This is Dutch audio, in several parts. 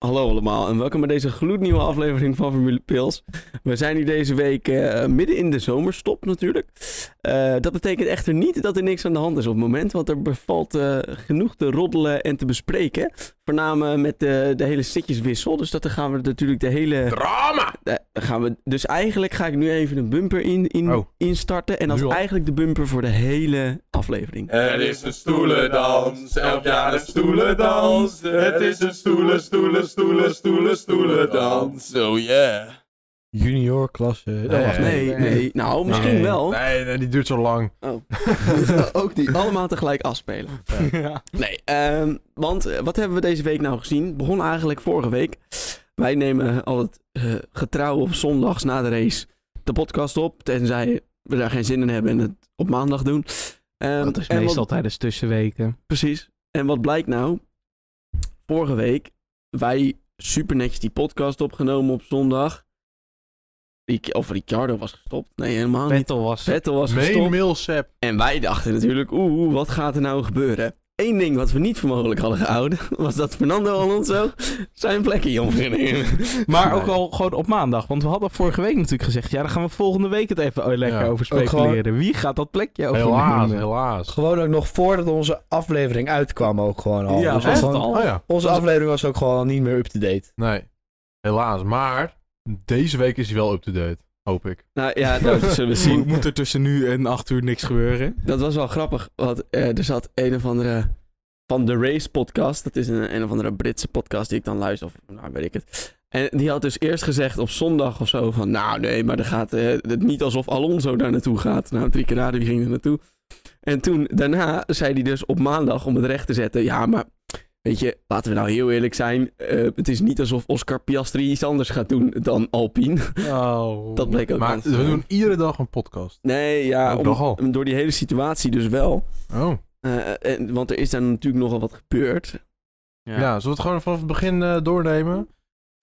Hallo allemaal en welkom bij deze gloednieuwe aflevering van Formule Pils. We zijn nu deze week eh, midden in de zomerstop natuurlijk. Eh, dat betekent echter niet dat er niks aan de hand is op het moment, want er bevalt eh, genoeg te roddelen en te bespreken. Voornamelijk met de, de hele sitjeswissel, dus dat dan gaan we natuurlijk de hele... Drama! eh, gaan we, dus eigenlijk ga ik nu even een bumper in, in, Oh. instarten en dat Nu is al? eigenlijk de bumper voor de hele aflevering. Er is een stoelendans, elk jaar een stoelendans. Het is een stoelen, stoelen, stoelen, stoelen, stoelendans. Oh yeah. Junior klasse. Oh, wacht, nee, nee, Nou, misschien Eh, Nee. wel. Nee, nee, die duurt zo lang. Ook die allemaal tegelijk afspelen. Ja. Nee, ehm, want eh, wat hebben we deze week nou gezien? Begon eigenlijk vorige week. Wij nemen altijd eh getrouw op zondags na de race de podcast op. Tenzij we daar geen zin in hebben en het op maandag doen. Ehm, Dat is en wat- Oh, meestal tijdens tussenweken. precies. En wat blijkt nou? Vorige week, wij super netjes die podcast opgenomen op zondag. Ric- Of Ricciardo was gestopt. Nee, helemaal niet. Vettel was het. Vettel was Main gestopt. mail, Sep. En wij dachten natuurlijk, oeh, wat gaat er nou gebeuren? Eén ding wat we niet voor mogelijk hadden gehouden, was dat Fernando Alonso zijn plekje jong ging nemen. Maar ook al gewoon op maandag. Want we hadden vorige week natuurlijk gezegd... ja, daar gaan we volgende week het even oh, lekker Ja. over Ook gewoon- speculeren. Wie gaat dat plekje Helaas, overnemen? helaas. Gewoon ook nog voordat onze aflevering uitkwam ook gewoon al. Ja, Dus was echt gewoon- al. Oh ja, Onze aflevering was ook gewoon niet meer up-to-date. nee. Helaas, maar deze week is hij wel up-to-date. Hoop ik. Nou ja, dat zullen we zien. Moet er tussen nu en acht uur niks gebeuren? Dat was wel grappig, want eh, er zat een of andere van de Race podcast. Dat is een, een of andere Britse podcast die ik dan luister, of nou weet ik het. En die had dus eerst gezegd op zondag of zo van, nou nee, maar er gaat eh, het niet alsof Alonso daar naartoe gaat. Nou, drie keer raden, wie ging er naartoe? En toen, daarna, zei hij dus op maandag om het recht te zetten, ja, maar weet je, laten we nou heel eerlijk zijn, eh, het is niet alsof Oscar Piastri iets anders gaat doen dan Alpine. Oh. Dat bleek ook Maar aan te we zijn. doen iedere dag een podcast. Nee, ja, Ook om- nogal. door die hele situatie dus wel. Oh. Eh, en, want er is daar natuurlijk nogal wat gebeurd. Ja, zullen we het gewoon vanaf het begin eh, doornemen?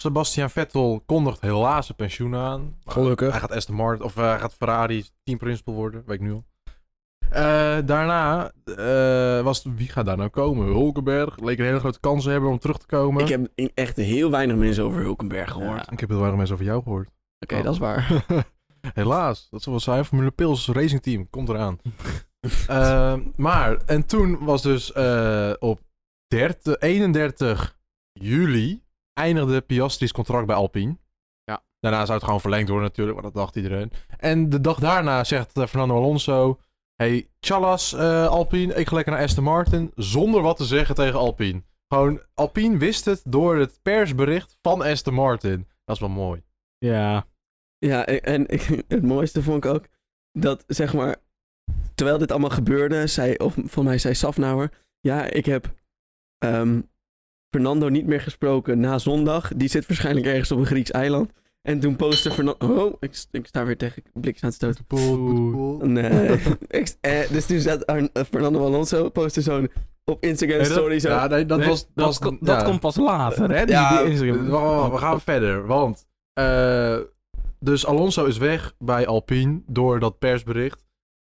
Sebastian Vettel kondigt helaas zijn pensioen aan. Gelukkig. Hij gaat Aston Martin, of eh, hij gaat Ferrari teamprincipal worden, weet ik nu al. Eh, daarna eh, was het- wie gaat daar nou komen? Hulkenberg leek een hele grote kans te hebben om terug te komen. Ik heb in- echt heel weinig mensen over Hulkenberg gehoord. Ik heb heel weinig mensen over jou gehoord. Oké, Oh. dat is waar. Helaas, dat is wel saai. Formule Pils Racing Team, komt eraan. Eh, maar, en toen was dus eh, op 30, 31 juli eindigde Piastri's contract bij Alpine. Ja. Daarna zou het gewoon verlengd worden natuurlijk, maar dat dacht iedereen. En de dag daarna zegt eh, Fernando Alonso... Hey, tjallas eh, Alpine, ik ga lekker naar Aston Martin. Zonder wat te zeggen tegen Alpine. Gewoon, Alpine wist het door het persbericht van Aston Martin. Dat is wel mooi. Ja. Ja, en, en ik- het mooiste vond ik ook dat, zeg maar, terwijl dit allemaal gebeurde, zei, of van mij zei Safnauer, ja, ik heb ehm, Fernando niet meer gesproken na zondag. Die zit waarschijnlijk ergens op een Grieks eiland. En toen postte Fernando... Oh, ik, ik sta weer tegen bliks aan het stoten. Nee. Ik- eh, dus toen zat Arn- eh, Fernando Alonso, postte zo'n op Instagram Nee, dat- story zo. Ja, nee, dat Nee, was... dat, was- ko- ja. dat Oh. komt pas later, hè? Die, Ja, die Eh, Instagram. wacht, wacht, we gaan verder, want... eh, dus Alonso is weg bij Alpine door dat persbericht.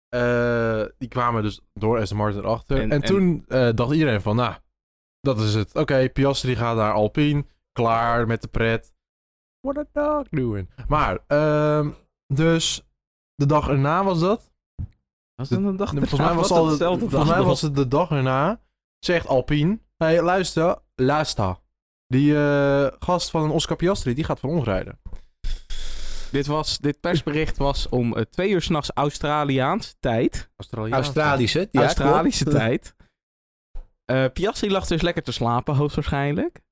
Eh, die kwamen dus door Aston Martin erachter. En, En- en- toen eh, dacht iedereen van, nou, dat is het. Oké, Piastri gaat naar Alpine. Klaar met de pret. What a dog doing. Maar, ehm, dus de dag erna was dat. Was dat een dag Volgens erna? mij was, Wat al een stelde volgens dag mij nog. was het de dag erna. Zegt Alpine. Hey, luister, luister. Die eh, gast van Oscar Piastri, die gaat van ons rijden. Dit, was, dit persbericht was om eh, twee uur s'nachts Australiaans tijd. Australië. Australische. die Australische klopt. tijd. Eh Piastri lag dus lekker te slapen, hoogstwaarschijnlijk.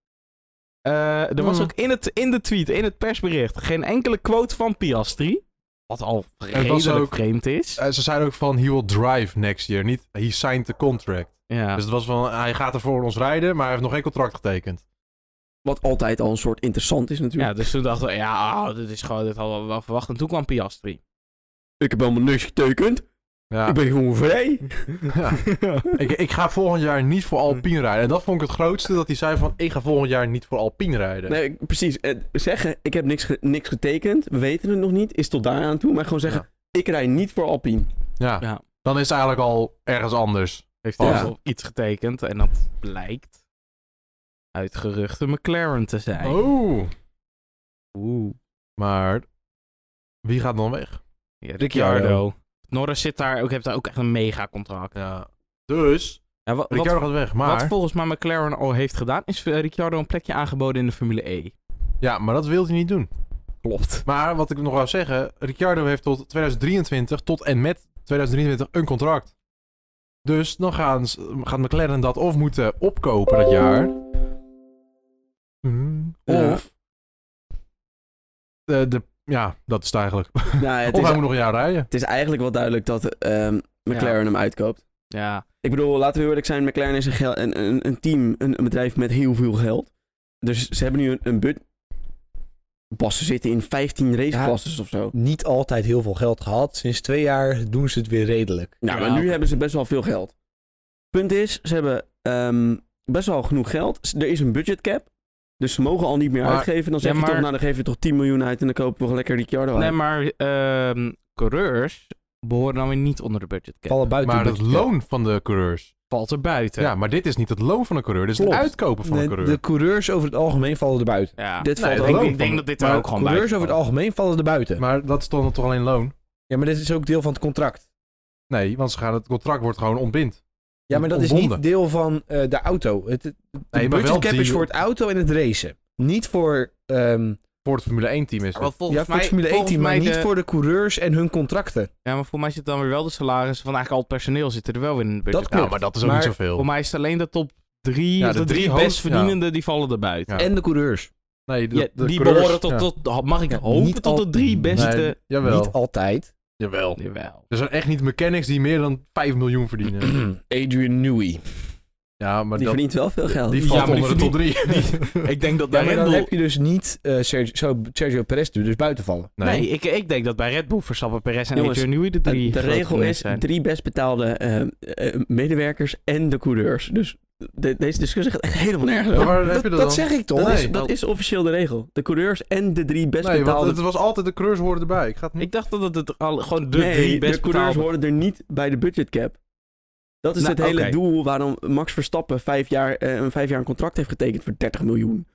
Eh, er was Hmm. ook in, het, in de tweet, in het persbericht, geen enkele quote van Piastri. Wat al redelijk ook- vreemd is. Eh, ze zeiden ook van, he will drive next year. Niet, he signed the contract. ja. Dus het was van, hij gaat er voor ons rijden, maar hij heeft nog geen contract getekend. Wat altijd al een soort interessant is natuurlijk. ja, dus toen dachten we, ja, oh, dit is gewoon, dit hadden we wel verwacht. En toen kwam Piastri. Ik heb helemaal niks getekend. Ja. Ik ben gewoon vrij. Ja. ik, ik ga volgend jaar niet voor Alpine rijden. En dat vond ik het grootste, dat hij zei van, ik ga volgend jaar niet voor Alpine rijden. Nee, ik- precies. Eh, Zeggen, ik heb niks, ge- niks getekend. We weten het nog niet. Is tot daar aan toe. Maar gewoon zeggen, ik rij niet voor Alpine. Ja. Ja. Dan is het eigenlijk al ergens anders. Heeft Ja. hij al iets getekend en dat blijkt. uit geruchten McLaren te zijn. Oh. Oeh. Maar wie gaat dan weg? Ja, Ricciardo. Ricciardo. Norris zit daar ook, heeft daar ook echt een mega contract. Ja. Dus, Ja, wa- wat, Ricciardo gaat weg, wat maar... volgens mij McLaren al heeft gedaan, is eh, Ricciardo een plekje aangeboden in de Formule E. Ja, maar dat wil hij niet doen. Klopt. Maar wat ik nog wou zeggen, Ricciardo heeft tot 2023, tot en met 2023, een contract. Dus dan gaan, ze- gaat McLaren dat of moeten opkopen dat jaar. Hmm. Mm, Ja. Of... De, de, ja, dat is het eigenlijk. Nou, het, of hij is, moet nog een jaar rijden. het is eigenlijk wel duidelijk dat ehm, McLaren hem uitkoopt. Ja. Ik bedoel, laten we eerlijk zijn, McLaren is een, gel- een, een, een team, een, een bedrijf met heel veel geld. Dus ze hebben nu een, een budget. Pas ze zitten in 15 raceklasses of zo. Niet altijd heel veel geld gehad. Sinds twee jaar doen ze het weer redelijk. Nou, Ja, maar nu oké. hebben ze best wel veel geld. Punt is, ze hebben ehm, best wel genoeg geld. S- Er is een budget cap. Dus ze mogen al niet meer Maar- uitgeven. Dan zeg Ja, je toch, maar- nou dan geef je toch 10 miljoen uit en dan kopen we lekker Ricciardo uit. Nee, maar ehm, coureurs behoren dan weer niet onder de budgetcap. Vallen buiten Maar de het budget. loon van de coureurs. Valt er buiten. Ja, maar dit is niet het loon van een coureur. Dit is het Klopt. uitkopen van een Nee, coureur. de coureurs over het algemeen vallen er buiten. Ja. Dit Nee, valt dat ook. ook. ik, ik denk dat dit er Maar ook gewoon bij Coureurs over het algemeen vallen er buiten. Maar dat is dan toch alleen loon? Ja, maar dit is ook deel van het contract. Nee, want ze gaan, het contract wordt gewoon ontbind. Ja, maar dat is Ontbonden. niet deel van eh, de auto. Het, het, de maar wel budgetcap is die- voor het auto en het racen. Niet voor, ehm Voor het Formule 1 team is het. Want volgens ja, voor mij, het Formule 1 volgens team, maar mij niet de- voor de coureurs en hun contracten. Ja, maar voor mij zit dan weer wel de salarissen van eigenlijk al het personeel zitten er wel weer in de budget. Dat Nou, klopt. maar dat is ook Maar- niet Voor zoveel. mij is het alleen de top drie, Ja, of de, de drie, drie hoofd- best verdienende, die vallen er buiten. Ja. En de coureurs. Nee, de- Ja, de die coureurs- behoren tot, ja. tot, mag ik Ja, hopen, niet tot al- de drie beste... Nee, jawel. Niet altijd. jawel. Jawel. Er zijn echt niet mechanics die meer dan 5 miljoen verdienen. Adrian Newey. ja, maar Die dat, verdient wel veel geld. die Ja, valt maar die onder de top 3. Ik denk dat Ja, bij maar Red dan Bull... heb je dus niet eh, Sergio, zo Sergio Perez nu dus buiten vallen. Nee, ik, ik denk dat bij Red Bull Verstappen, Perez en Jongens, Adrian Newey de De- drie de grote regel mensen is zijn. drie best betaalde eh, eh, medewerkers en de coureurs. Dus de- deze discussie gaat echt helemaal nergens Maar over. waar heb Dat, je dat dat dan? zeg ik toch? Dat, is, nee. dat is officieel de regel. De coureurs en de drie best nee, want betaalde... het was altijd de coureurs horen erbij. Ik ga het niet... Ik dacht dat het al, gewoon de nee, drie best de coureurs betaalde- horen er niet bij de budget cap. Dat is Nou, het hele oké. doel waarom Max Verstappen vijf jaar, eh, een vijf jaar een contract heeft getekend voor 30 miljoen.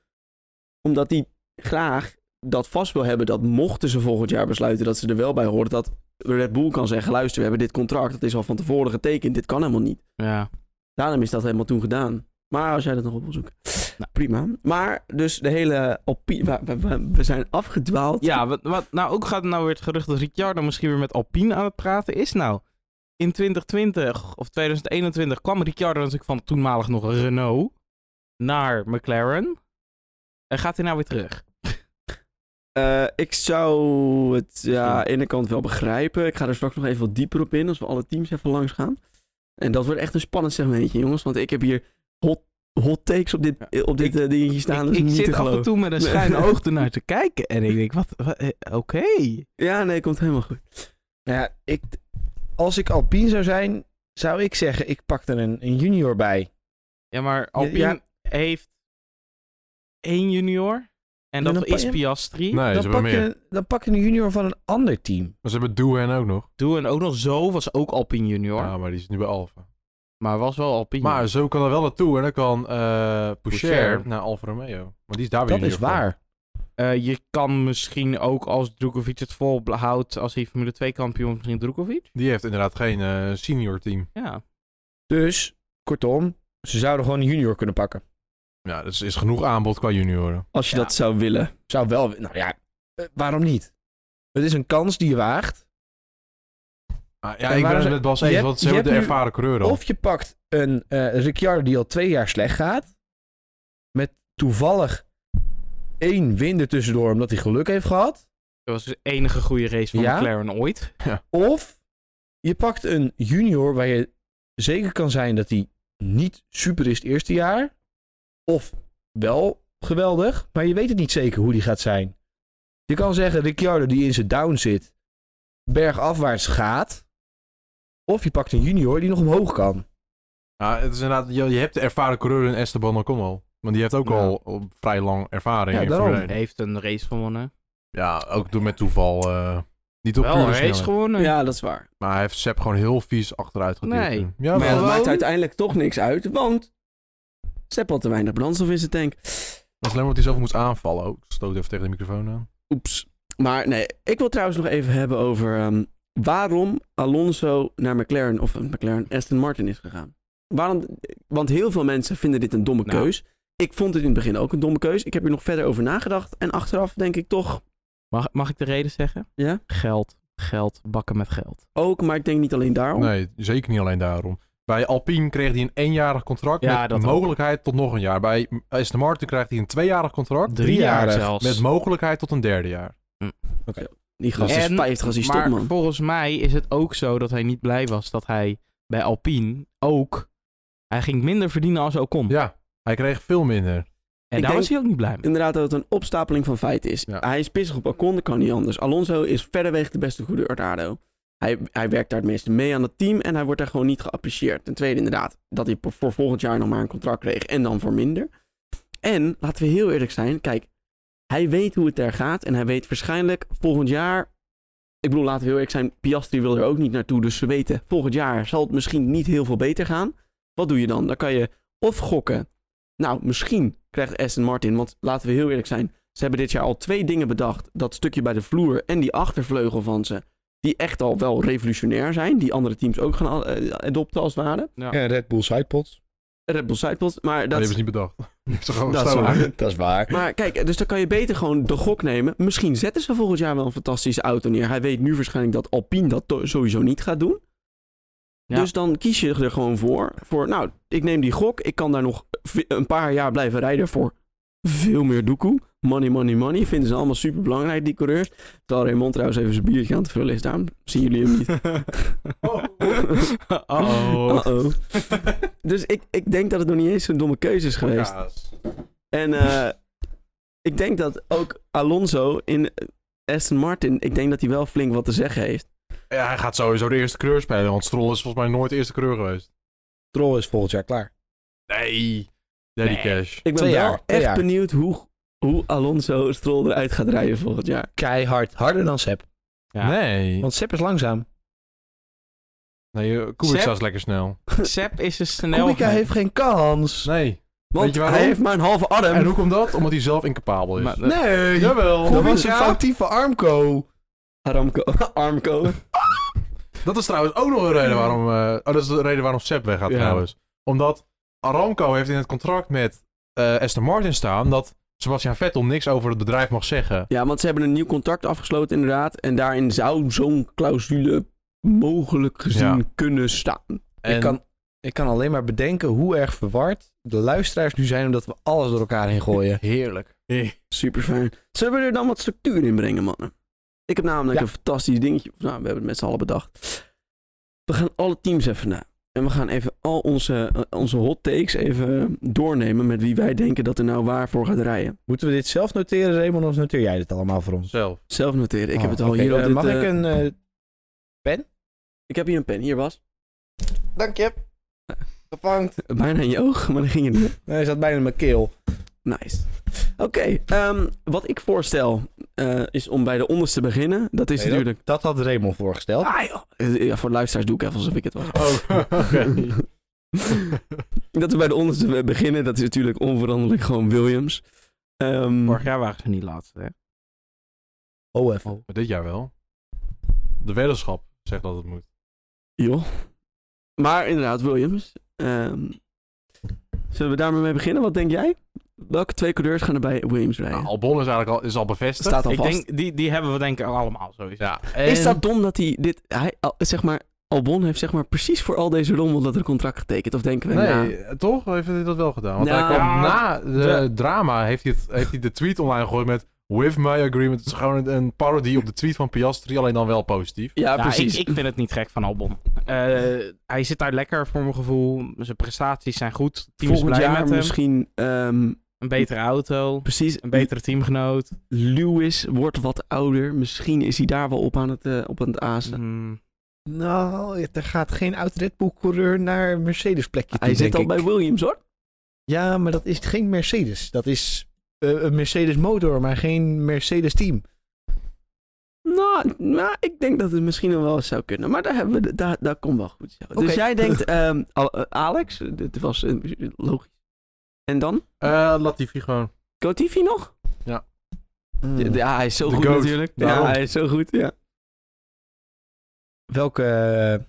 Omdat hij graag dat vast wil hebben dat mochten ze volgend jaar besluiten dat ze er wel bij horen, dat Red Bull kan zeggen, luister, we hebben dit contract, dat is al van tevoren getekend, dit kan helemaal niet. Ja. Daarom is dat helemaal toen gedaan. Maar als jij dat nog op wil zoeken. Nou. Prima. Maar dus de hele Alpine... wa- wa- wa- We zijn afgedwaald. Ja, wat, wat nou ook gaat nou weer het gerucht dat Ricciardo misschien weer met Alpine aan het praten is. Nou, in 2020 of 2021 kwam Ricciardo natuurlijk van toenmalig nog Renault naar McLaren. En gaat hij nou weer terug? Eh, ik zou het ja, aan de ene kant wel begrijpen. Ik ga er straks nog even wat dieper op in als we alle teams even langs gaan. En dat wordt echt een spannend segmentje, jongens. Want ik heb hier hot, hot takes op dit, op dit eh, dingetje staan. ik dat is ik niet zit te af en geloven. toe met een Nee. schuin oog ernaar te kijken. En ik denk, wat, wat, eh, oké. Ja, nee, komt helemaal goed. Nou ja, ik, als ik Alpine zou zijn, zou ik zeggen, ik pak er een, een junior bij. Ja, maar Alpine ja. heeft één junior. En dat dan pak is je- Piastri. Nee, ze hebben dan, pak meer. je, een- dan pak je een junior van een ander team. Maar ze hebben Doehan ook nog. Doe en ook nog zo was ook Alpine junior. Ja, maar die is nu bij Alfa. Maar was wel Alpine. Maar zo kan er wel naartoe. En dan kan eh Poucher Poucher. naar Alfa Romeo. Maar die is daar weer Dat is junior voor. waar. Eh, je kan misschien ook als Drukovic het volhoudt als hij Formule 2 kampioen wordt, misschien Drukovic. Die heeft inderdaad geen eh, senior team. Ja. Dus, kortom, ze zouden gewoon een junior kunnen pakken. Ja, dus is genoeg aanbod qua junioren. Als je Ja. dat zou willen. Zou wel, nou ja, eh, waarom niet? Het is een kans die je waagt. Maar ja, En ik ben waarom het ze- met Bas je eens, hebt- want ze je hebben de hebt nu- ervaren coureur al. Of je pakt een eh Ricciardo die al twee jaar slecht gaat. Met toevallig één win er tussendoor omdat hij geluk heeft gehad. Dat was dus de enige goede race van Ja? McLaren ooit. Of je pakt een junior waar je zeker kan zijn dat hij niet super is het eerste jaar. Of wel geweldig, maar je weet het niet zeker hoe die gaat zijn. Je kan zeggen Ricciardo die in zijn down zit, bergafwaarts gaat. Of je pakt een junior die nog omhoog kan. Ja, het is inderdaad, je, je hebt de ervaren coureur in Esteban Ocon al. Want die heeft ook Ja. al al vrij lang ervaring Ja, in daarom. Formule Hij 1. heeft een race gewonnen. Ja, ook door met toeval. eh, niet op wel een pure race snelheid. gewonnen. Ja, dat is waar. Maar hij heeft Sepp gewoon heel vies achteruit geduwd. Nee. toen. Ja, Maar ja, wel. dat Gewoon- maakt uiteindelijk toch niks uit. Want Sepp had te weinig brandstof in zijn tank. Dat is alleen maar dat hij zelf moest aanvallen. Oh, ik stoot even tegen de microfoon aan. Oeps. Maar nee, ik wil trouwens nog even hebben over ehm, waarom Alonso naar McLaren of eh, McLaren Aston Martin is gegaan. Waarom, want heel veel mensen vinden dit een domme Nou. keus. Ik vond het in het begin ook een domme keus. Ik heb hier nog verder over nagedacht. En achteraf denk ik toch Mag, mag ik de reden zeggen? Ja? Geld, geld, bakken met geld. ook, maar ik denk niet alleen daarom. Nee, zeker niet alleen daarom. Bij Alpine kreeg hij een eenjarig contract Ja, met dat ook. mogelijkheid tot nog een jaar. Bij Aston Martin krijgt hij een tweejarig contract Drie jaar Driejarig. zelfs. met mogelijkheid tot een derde jaar. Die gast is En- 50 als hij maar stopt, man. volgens mij is het ook zo dat hij niet blij was dat hij bij Alpine ook... Hij ging minder verdienen als Ocon. Ja, hij kreeg veel minder. En Ik daar denk- was hij ook niet blij mee. Inderdaad, dat het een opstapeling van feiten is. Ja. Hij is pissig op Ocon, dat kan niet anders. Alonso is verreweg de beste goede aardo. Hij, hij werkt daar het meeste mee aan het team en hij wordt daar gewoon niet geapprecieerd. Ten tweede, inderdaad, dat hij voor- voor volgend jaar nog maar een contract kreeg en dan voor minder. En, laten we heel eerlijk zijn, kijk, hij weet hoe het daar gaat en hij weet waarschijnlijk volgend jaar... Ik bedoel, laten we heel eerlijk zijn, Piastri wil er ook niet naartoe, dus ze weten, volgend jaar zal het misschien niet heel veel beter gaan. Wat doe je dan? Dan kan je of gokken nou, misschien krijgt Aston Martin, want laten we heel eerlijk zijn. Ze hebben dit jaar al twee dingen bedacht. Dat stukje bij de vloer en die achtervleugel van ze. Die echt al wel revolutionair zijn. Die andere teams ook gaan eh, adopten als het ware. Ja, Red Bull sidepods. Red Bull Sidepod. Maar, Dat dat, hebben ze niet bedacht. Ze gewoon Dat is gestolen. waar. dat is waar. maar kijk, dus dan kan je beter gewoon de gok nemen. Misschien zetten ze volgend jaar wel een fantastische auto neer. Hij weet nu waarschijnlijk dat Alpine dat to- sowieso niet gaat doen. Ja. Dus dan kies je er gewoon voor. voor. Nou, ik neem die gok. Ik kan daar nog ve- een paar jaar blijven rijden voor veel meer doekoe. Money, money, money. Vinden ze allemaal super belangrijk, die coureurs. Terwijl Raymond trouwens even zijn biertje aan het vullen is. Daarom zien jullie hem niet. Oh. Uh-oh. Uh-oh. Dus ik, ik denk dat het nog niet eens zo'n domme keuze is geweest. En eh, ik denk dat ook Alonso in eh, Aston Martin, ik denk dat hij wel flink wat te zeggen heeft. Ja, hij gaat sowieso de eerste kleur spelen, want Stroll is volgens mij nooit de eerste kleur geweest. Troll is volgend jaar klaar. Nee. Daddy Cash. Ik ben Twee wel jaar, twee echt jaar. benieuwd hoe, hoe Alonso Stroll eruit gaat rijden volgend jaar. Keihard. Harder dan Sepp. Ja. Nee. Want Sepp is langzaam. Nee, eh, Kubica Sepp? is lekker snel. Sepp is een snel. Kubica heeft geen kans. Nee. Weet Want je waarom? hij heeft maar een halve arm. En hoe komt dat? Omdat hij zelf incapabel is. Maar- Nee. Nee. Jawel. Dat was een foutieve Armco. Aramco, Armco. Dat is trouwens ook nog een reden waarom... eh, oh, dat is de reden waarom Sepp weggaat Ja. trouwens. Omdat Aramco heeft in het contract met eh Aston Martin staan dat Sebastian Vettel niks over het bedrijf mag zeggen. Ja, want ze hebben een nieuw contract afgesloten inderdaad. En daarin zou zo'n clausule mogelijk gezien Ja. kunnen staan. En Ik, kan, ik kan alleen maar bedenken hoe erg verward de luisteraars nu zijn omdat we alles door elkaar heen gooien. Heerlijk. Super fijn. Zullen we er dan wat structuur in brengen, mannen? Ik heb namelijk Ja. een fantastisch dingetje. Nou, we hebben het met z'n allen bedacht. We gaan alle teams even na. En we gaan even al onze, eh, onze hot takes even eh, doornemen met wie wij denken dat er nou waar voor gaat rijden. Moeten we dit zelf noteren, Raymond, of noteer jij dit allemaal voor ons? Zelf. Zelf noteren. Ik Oh, heb het al oké. hier op Eh, dit, Mag eh, ik een... eh, ik heb hier een pen. Hier, Bas. Dank je. Gevangt. Bijna in je oog, maar dan ging het niet. Nee, hij zat bijna in mijn keel. Nice. Oké, ehm, wat ik voorstel eh, is om bij de onderste te beginnen. Dat is Nee, natuurlijk... Dat had Raymond voorgesteld. Ah, joh. Ja, voor de luisteraars doe ik even alsof ik het was. Oh, oké. Dat we bij de onderste beginnen, dat is natuurlijk onveranderlijk gewoon Williams. Ehm, Vorig jaar waren ze niet laatste. Hè? Oh, even. Maar dit jaar wel. De weddenschap zegt dat het moet. joh. Maar inderdaad, Williams. Ehm, zullen we daarmee mee beginnen? Wat denk jij? Welke twee coureurs gaan er bij Williams rijden? Nou, Albon is eigenlijk al, is al bevestigd. Staat al Ik vast. denk, die, die hebben we denk ik allemaal sowieso. Ja, Is en- dat dom dat hij dit... Hij, al- zeg maar, Albon heeft zeg maar precies voor al deze rommel dat er een contract getekend. Of denken we, nou, Nee, toch heeft hij dat wel gedaan. Want Nou, hij kwam ja, na de de- drama, heeft hij, het, heeft hij de tweet online gegooid met... With my agreement. Het is gewoon een- een parodie op de tweet van Piastri, alleen dan wel positief. Ja, Ja, precies. Ik, ik vind het niet gek van Albon. Eh, hij zit daar lekker voor mijn gevoel. Zijn prestaties zijn goed. Het Team Volgend is blij jaar met hem. misschien... ehm, Een betere auto. precies. Een betere teamgenoot. Lewis wordt wat ouder. Misschien is hij daar wel op aan het, eh, op aan het azen. Mm. Nou, er gaat geen oud Red Bull coureur naar Mercedes plekje toe, Hij zit denk al ik. bij Williams, hoor. Ja, maar dat is geen Mercedes. Dat is eh, een Mercedes motor, maar geen Mercedes team. Nou, nou, ik denk dat het misschien nog wel eens zou kunnen. Maar daar, hebben we, de- daar, daar komt wel goed. zo. Oké. Dus jij denkt, ehm, Al- eh, Alex, dit was eh, logisch. En dan? Eh, Latifi gewoon. Gotifi nog? Ja, De- hij is zo De goed goat. natuurlijk. Daarom. Ja, hij is zo goed, ja. Welke... eh,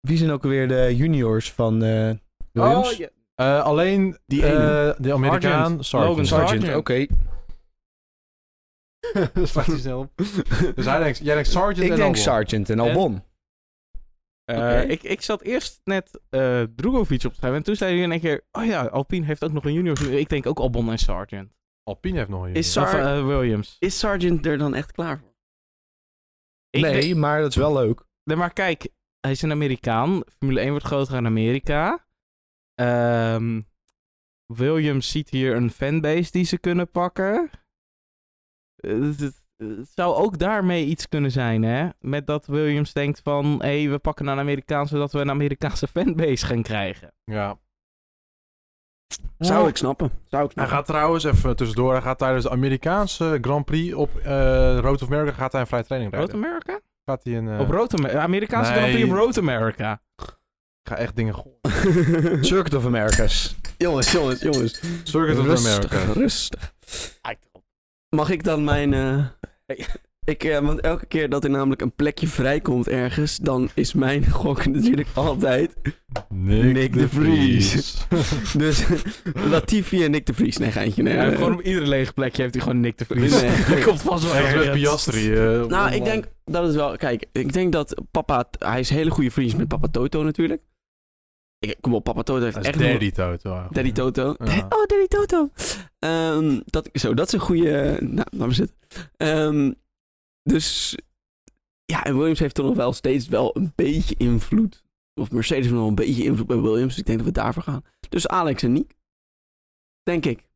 wie zijn ook alweer de juniors van eh Williams? Oh, ja. Eh, alleen Die eh, ene. de Amerikaan. Logan Sargent. Sargent, Sargent. oké. Slaat hij snel op. Dus hij denkt, jij denkt Sargent Ik en denk Albon. Sargent en Albon. Eh, Oké. ik, ik zat eerst net eh Drogovic op te schrijven. En toen zei hij in één keer... Oh ja, Alpine heeft ook nog een junior. Ik denk ook Albon en Sargent. Alpine heeft nog een Is junior. Of Sar- eh, Williams. Is Sargent er dan echt klaar voor? Ik nee, denk- maar dat is wel leuk. Nee, maar kijk. Hij is een Amerikaan. Formule 1 wordt groter in Amerika. Ehm, Williams ziet hier een fanbase die ze kunnen pakken. Eh, Het, het- het zou ook daarmee iets kunnen zijn, hè? Met dat Williams denkt van... Hé, we pakken een Amerikaan zodat we een Amerikaanse fanbase gaan krijgen. Oh, Ja. Zou ik snappen. Zou ik Hij snappen. gaat trouwens, even tussendoor, hij gaat tijdens de Amerikaanse Grand Prix op eh Road of America gaat hij een vrije training Rood rijden. Amerika? Gaat hij een, eh, Op Road America. Amerikaanse Nee. Grand Prix op Road America. ik ga echt dingen gooien. Circuit of Americas. jongens, jongens, jongens. Circuit of rustig, America. rustig. Mag ik dan mijn... eh, Ik, eh, want elke keer dat er namelijk een plekje vrijkomt ergens, dan is mijn gok natuurlijk altijd Nick, Nick de Vries. Dus Latifi en Nick de Vries. Nee, geintje. Nee, Hij heeft eh, gewoon op iedere lege plekje heeft hij gewoon Nick de nee. Vries. Hij komt vast wel Echt met ergens. Piastri. eh, Nou, ik om- denk dat is wel. Kijk, ik denk dat papa. Hij is hele goede vriends met papa Toto natuurlijk. Ik, kom op, papa Toto heeft Dat echt. is nog- Daddy Toto. eigenlijk. Daddy Toto. Ja. Oh, Daddy Toto. Ehm, dat, zo, dat is een goede. Nou, laat maar zitten. Ehm, dus. Ja, en Williams heeft toch nog wel steeds wel een beetje invloed. Of Mercedes heeft nog wel een beetje invloed bij Williams. Dus ik denk dat we daarvoor gaan. Dus Alex en Nick. Denk ik.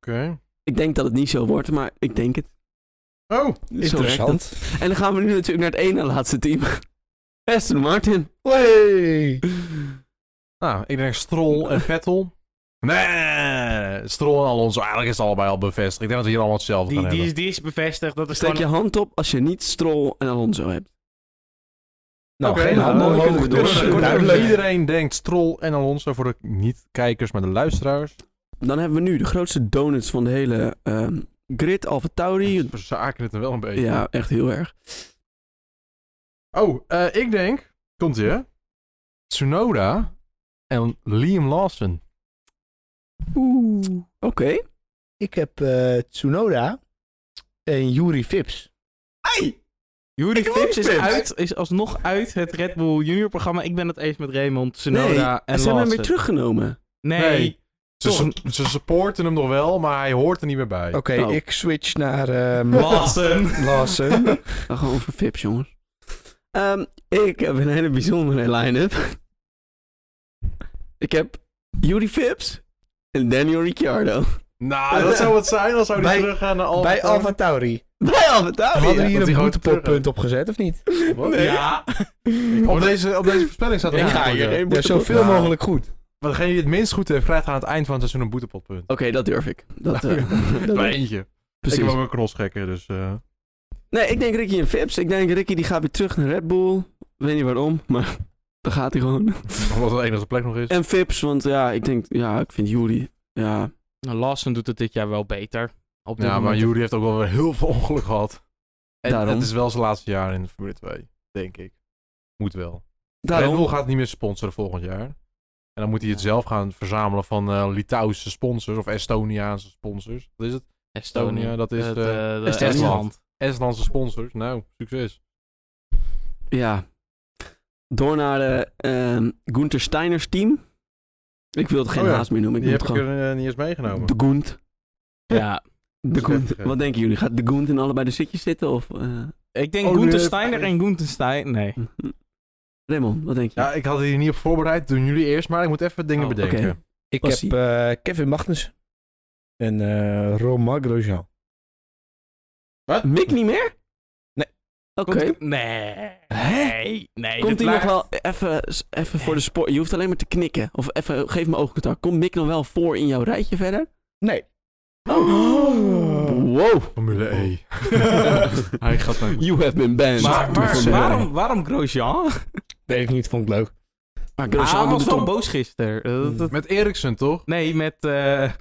Oké. Ik denk dat het niet zo wordt, maar ik denk het. Oh, Zo werkt dat. Interessant. En dan gaan we nu natuurlijk naar het ene laatste team. Aston Martin. Hey. nou, ik denk Stroll en Vettel. Nee, Stroll en Alonso. Eigenlijk is het allebei al bevestigd. Ik denk dat we hier allemaal hetzelfde Die, gaan die, hebben. is, die is bevestigd. Dat is Steek je gewoon... hand op als je niet Stroll en Alonso hebt. Nou, Oké, geen nou, handen dan omhoog, kunnen we- dus kunnen we- duidelijk. Iedereen denkt Stroll en Alonso voor de niet-kijkers, maar de luisteraars. Dan hebben we nu de grootste donuts van de hele ehm, grid. Alfa Ze Tauri. verzaken het er wel een beetje. Ja, echt heel erg. Oh, eh, ik denk... Komt ie, hè? Tsunoda en Liam Lawson. Oeh. Oké. Ik heb eh, Tsunoda en Yuri Vips. Hey! Yuri Ik Philips is, hoop het. uit, is alsnog uit het Red Bull Junior programma. Ik ben het eens met Raymond, Tsunoda Nee, en En ze hebben hem Lawson. weer teruggenomen. Nee. Nee. Ze, Toch. su- ze supporten hem nog wel, maar hij hoort er niet meer bij. Oké, Oh. ik switch naar ehm, eh, Lawson. Lawson. Dan gewoon voor Vips, jongens. Ehm, ik heb een hele bijzondere line-up. Ik heb Yuri Vips en Daniel Ricciardo. Nou, dat zou wat zijn. Dan zou hij Bij- teruggaan naar Alfa. Bij Tauri. Alfa Tauri. Bij Alfa Tauri. Hadden we ja. hier want een die boetepotpunt grote- op gezet, of niet? Wat? Nee. Ja. Op deze, op deze voorspelling staat Ik een ga boetepot, hier ja. geen Ja, boete zoveel Ja. mogelijk goed. Maar degene die het minst goed heeft, krijgt aan het eind van het seizoen een boetepotpunt. Oké, dat durf ik. Dat, eh, dat Maar durf ik. eentje. Precies. Ik ben ook een knosgekker, dus... eh, Nee, ik denk Ricky en Vips. Ik denk Ricky die gaat weer terug naar Red Bull. Ik weet niet waarom, maar daar gaat hij gewoon. Omdat het de enige plek nog is. En Vips, want ja, ik denk, ja, ik vind Juli. Ja, Nou, Lawson doet het dit jaar wel beter. Op dit Ja, maar moment. Jury heeft ook wel weer heel veel ongeluk gehad. Nou, En Daarom. het is wel zijn laatste jaar in de Formule 2, denk ik. Moet wel. Red daarom. Bull gaat het niet meer sponsoren volgend jaar. En dan moet hij het zelf gaan verzamelen van eh Litouwse sponsors of Estoniaanse sponsors. Wat is het? Estonia, Estonië. dat is Het, de- eh, de Estland. Estland. Estlandse sponsors. Nou, succes. Ja. Door naar de ehm Gunther Steiners team. Ik wil het geen Oh ja, haast meer noemen. Ik Die noem heb het ik gewoon er eh, niet eens meegenomen. de Gunt. Ja. De Slecht Gunt. gegeven. Wat denken jullie? Gaat de Gunt in allebei de zitjes zitten? Of, eh Ik denk Oh, oh, nu heb- Steiner en Gunther Stein. Nee. Raymond, wat denk je? Ja, ik had hier niet op voorbereid. Doen jullie eerst, maar ik moet even dingen Oh, oké. bedenken. Ik Was heb eh, Kevin Magnus en eh Romain Grosjean. Mick niet meer? Nee. Oké. Komt- Nee. Nee. Nee. Komt dit hij nog lijkt- wel even, even voor de sport? Je hoeft alleen maar te knikken. Of even, geef me oogcontact. Komt Mick nog wel voor in jouw rijtje verder? Oh. Nee. Wow. Formule E. Hij gaat naar You have been banned. Maar, maar Formule waarom, waarom Grosjean? Weet ik niet, vond ik leuk. Maar Ah, Grosjean hij was doet wel het boos gisteren. Eh, dat- dat- Met Eriksen, toch? Hmm. nee, met... eh, eh,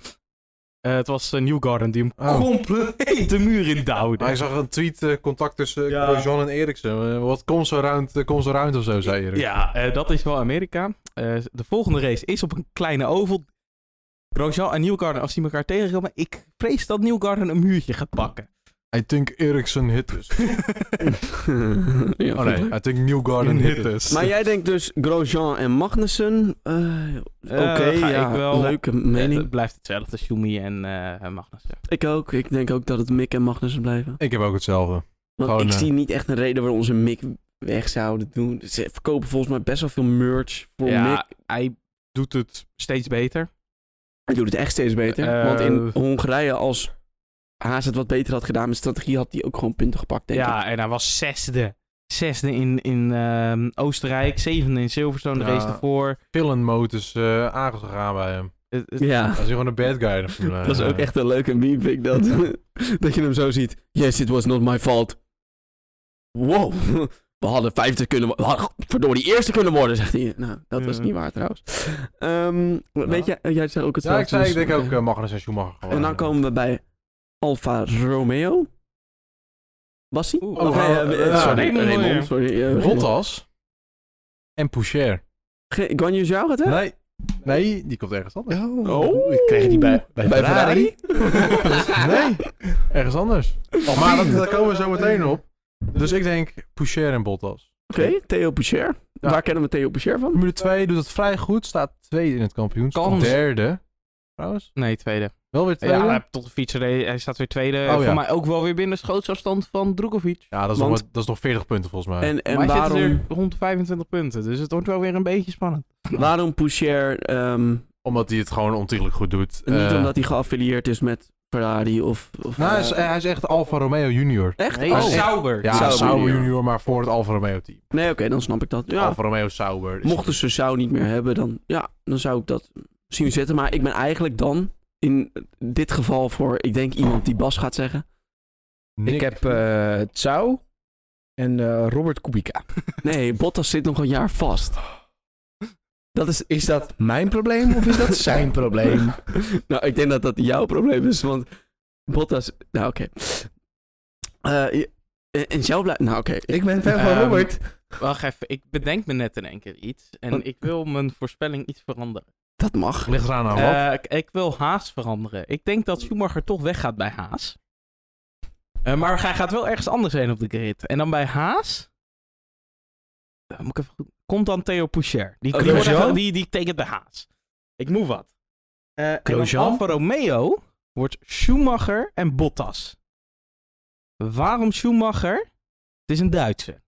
het was eh, Newgarden die hem Oh. compleet de muur in duwde. Hij zag een tweet, eh, contact tussen Ja. Grosjean en Eriksen. Eh, Wat komt zo round, eh, komt zo round of zo, zei Erik. Ja, eh, dat is wel Amerika. Eh, de volgende race is op een kleine oval. Grosjean en Newgarden, als die elkaar tegenkomen... Ik vrees dat Newgarden een muurtje gaat pakken. I think Eriksen hit us. om. Ja, Oh nee, I think Newgarden hit us. Maar jij denkt dus Grosjean en Magnussen. eh, Oké, ga ja, ik wel. leuke Eh, mening. het blijft hetzelfde, Schumi en eh Magnussen. Ik ook. Ik denk ook dat het Mick en Magnussen blijven. Ik heb ook hetzelfde. Want Gewoon, ik eh, zie niet echt een reden waarom ze Mick weg zouden doen. Ze verkopen volgens mij best wel veel merch voor Mick. Ja, hij doet het steeds beter. Hij doet het echt steeds beter. Eh, want in Hongarije, als Haas het wat beter had gedaan met strategie, had hij ook gewoon punten gepakt, denk ik. ja, en hij was zesde. Zesde in, in ehm, Oostenrijk, zevende in Silverstone, de Ja. race daarvoor. Villain mode is eh, aangegaan bij hem. Het- het- Ja, Hij is gewoon een bad guy. in de Formule dat is één. ook echt een leuke meme, vind ik dat. dat je hem zo ziet. Yes, it was not my fault. Wow, we hadden vijfde kunnen worden. We hadden verdorie eerste kunnen worden, zegt hij. Nou, dat was Ja. niet waar trouwens. Ehm, Weet jij, jij zei ook het Ja, ik, zei, ik trouwens, denk dus- ook eh, Magnus en Schumacher gewoon. En dan komen we bij Alfa Romeo. Was hij? Oeh, Oh, Of, eh, eh, eh, ja, sorry, Raymond Raymond, Moyer. sorry, eh, Bottas en Poucher. Ge- Guan Yu Zhao gaat weg? Nee, nee, die komt ergens anders. Oh. Ik kreeg die bij, bij, Bij Ferrari? nee, ergens anders. Oh, maar dat, daar komen we zo meteen op. Dus ik denk Poucher en Bottas. Oké, Theo Poucher. Ja. Waar kennen we Theo Poucher van? Formule 2 doet het vrij goed. Staat tweede in het kampioenschap. Kans. Derde. Trouwens. Nee, tweede. Wel weer tweede. Ja, hij Ja, heeft tot de fietser. Hij staat weer tweede. ja. Voor mij ook wel weer binnen schootsafstand van Drogovic. dat, is nog, Want- wat- dat is nog 40 punten volgens mij. En, en maar hij waarom, zit er rond 25 punten, dus het wordt wel weer een beetje spannend. waarom Poucher? ehm, Omdat hij het gewoon ontiegelijk goed doet. niet Eh, omdat hij geaffilieerd is met Ferrari of... of nou, hij, eh, is, hij is echt Alfa Romeo junior. Echt? Nee, Oh. Sauber. Ja, Sauber Sauber, junior. junior. maar voor het Alfa Romeo team. Nee, oké, dan snap ik dat. Ja, Alfa Romeo Sauber. is- mochten ze Zhao niet meer hebben, dan, ja, dan zou ik dat zien zitten. Maar ik ben eigenlijk dan, in dit geval voor, ik denk iemand die Bas gaat zeggen. Nick. Ik heb eh Tsau en eh, Robert Kubica. Nee, Bottas zit nog een jaar vast. Dat is... Is dat mijn probleem of is dat zijn probleem? Nou, ik denk dat dat jouw probleem is, want Bottas... Nou, oké. Eh, je- en- en jou blijft... Nou, oké. Ik ben fan van Ehm, Robert. Wacht even, ik bedenk me net in één keer iets. En ik wil mijn voorspelling iets veranderen. Dat mag. Ligt eraan aan wat. Eh, ik, ik wil Haas veranderen. Ik denk dat Schumacher toch weggaat bij Haas. Eh, maar hij gaat wel ergens anders heen op de grid. En dan bij Haas. Eh, moet ik even goed... Komt dan Theo Poucher. Die, Oh, die, wordt Grosjean? even- die, die tekent bij Haas. Ik move wat. Eh, en dan Grosjean? Alfa Romeo wordt Schumacher en Bottas. Waarom Schumacher? Het is een Duitse.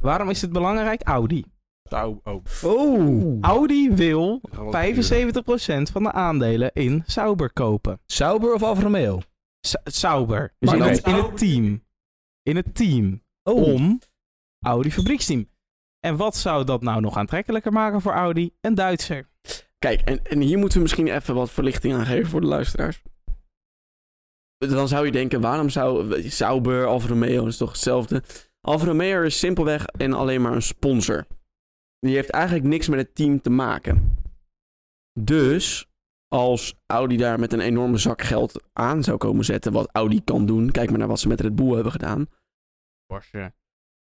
Waarom is het belangrijk? Audi. Sau- oh, Oh. Audi wil dat gaat wel 75% van de aandelen in Sauber kopen. Sauber of Alfa Romeo? Sa- Sauber. Dus Maar in, dan- het, in het team. In het team. Om Audi fabrieksteam. En wat zou dat nou nog aantrekkelijker maken voor Audi? Een Duitser. Kijk, en, en hier moeten we misschien even wat verlichting aan geven voor de luisteraars. Dan zou je denken, waarom zou Sauber, Alfa Romeo, is toch hetzelfde? Alfa Romeo is simpelweg en alleen maar een sponsor. Die heeft eigenlijk niks met het team te maken. Dus als Audi daar met een enorme zak geld aan zou komen zetten, wat Audi kan doen, kijk maar naar wat ze met Red Bull hebben gedaan. Porsche.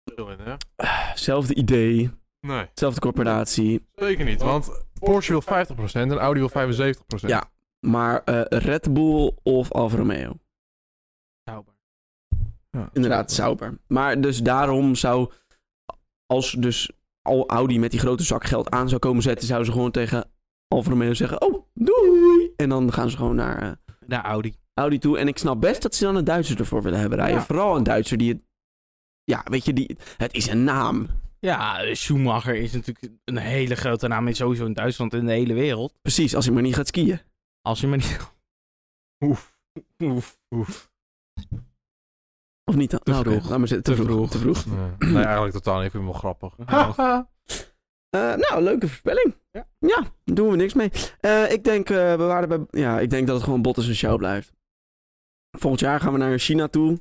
duur. Hè? Zelfde idee, Nee, zelfde corporatie, zeker niet. Want Porsche wil 50% en Audi wil 75%. Ja. maar eh, Red Bull of Alfa Romeo. Sauber. Ja. Inderdaad, Sauber. Maar dus daarom zou, als dus al Audi met die grote zak geld aan zou komen zetten, zouden ze gewoon tegen Alfa Romeo zeggen, oh, doei! En dan gaan ze gewoon naar eh, Naar Audi. Audi toe. En ik snap best dat ze dan een Duitser ervoor willen hebben rijden. Ja. Vooral een Duitser die het, ja, weet je, die, het is een naam. Ja, Schumacher is natuurlijk een hele grote naam in sowieso in Duitsland en in de hele wereld. Precies, als hij maar niet gaat skiën. Als je maar niet... Oef. Oef. Oef. Of niet dan? Te Nou, oké, vroeg. laat maar zitten. Te, Te vroeg. vroeg. Te vroeg. Nee, nee, eigenlijk totaal niet. Ik vind hem wel grappig. Eh, nou, leuke voorspelling. Ja. daar doen we niks mee. Eh, ik, denk, eh, we waren bij, ja, ik denk dat het gewoon Bottas en show blijft. Volgend jaar gaan we naar China toe.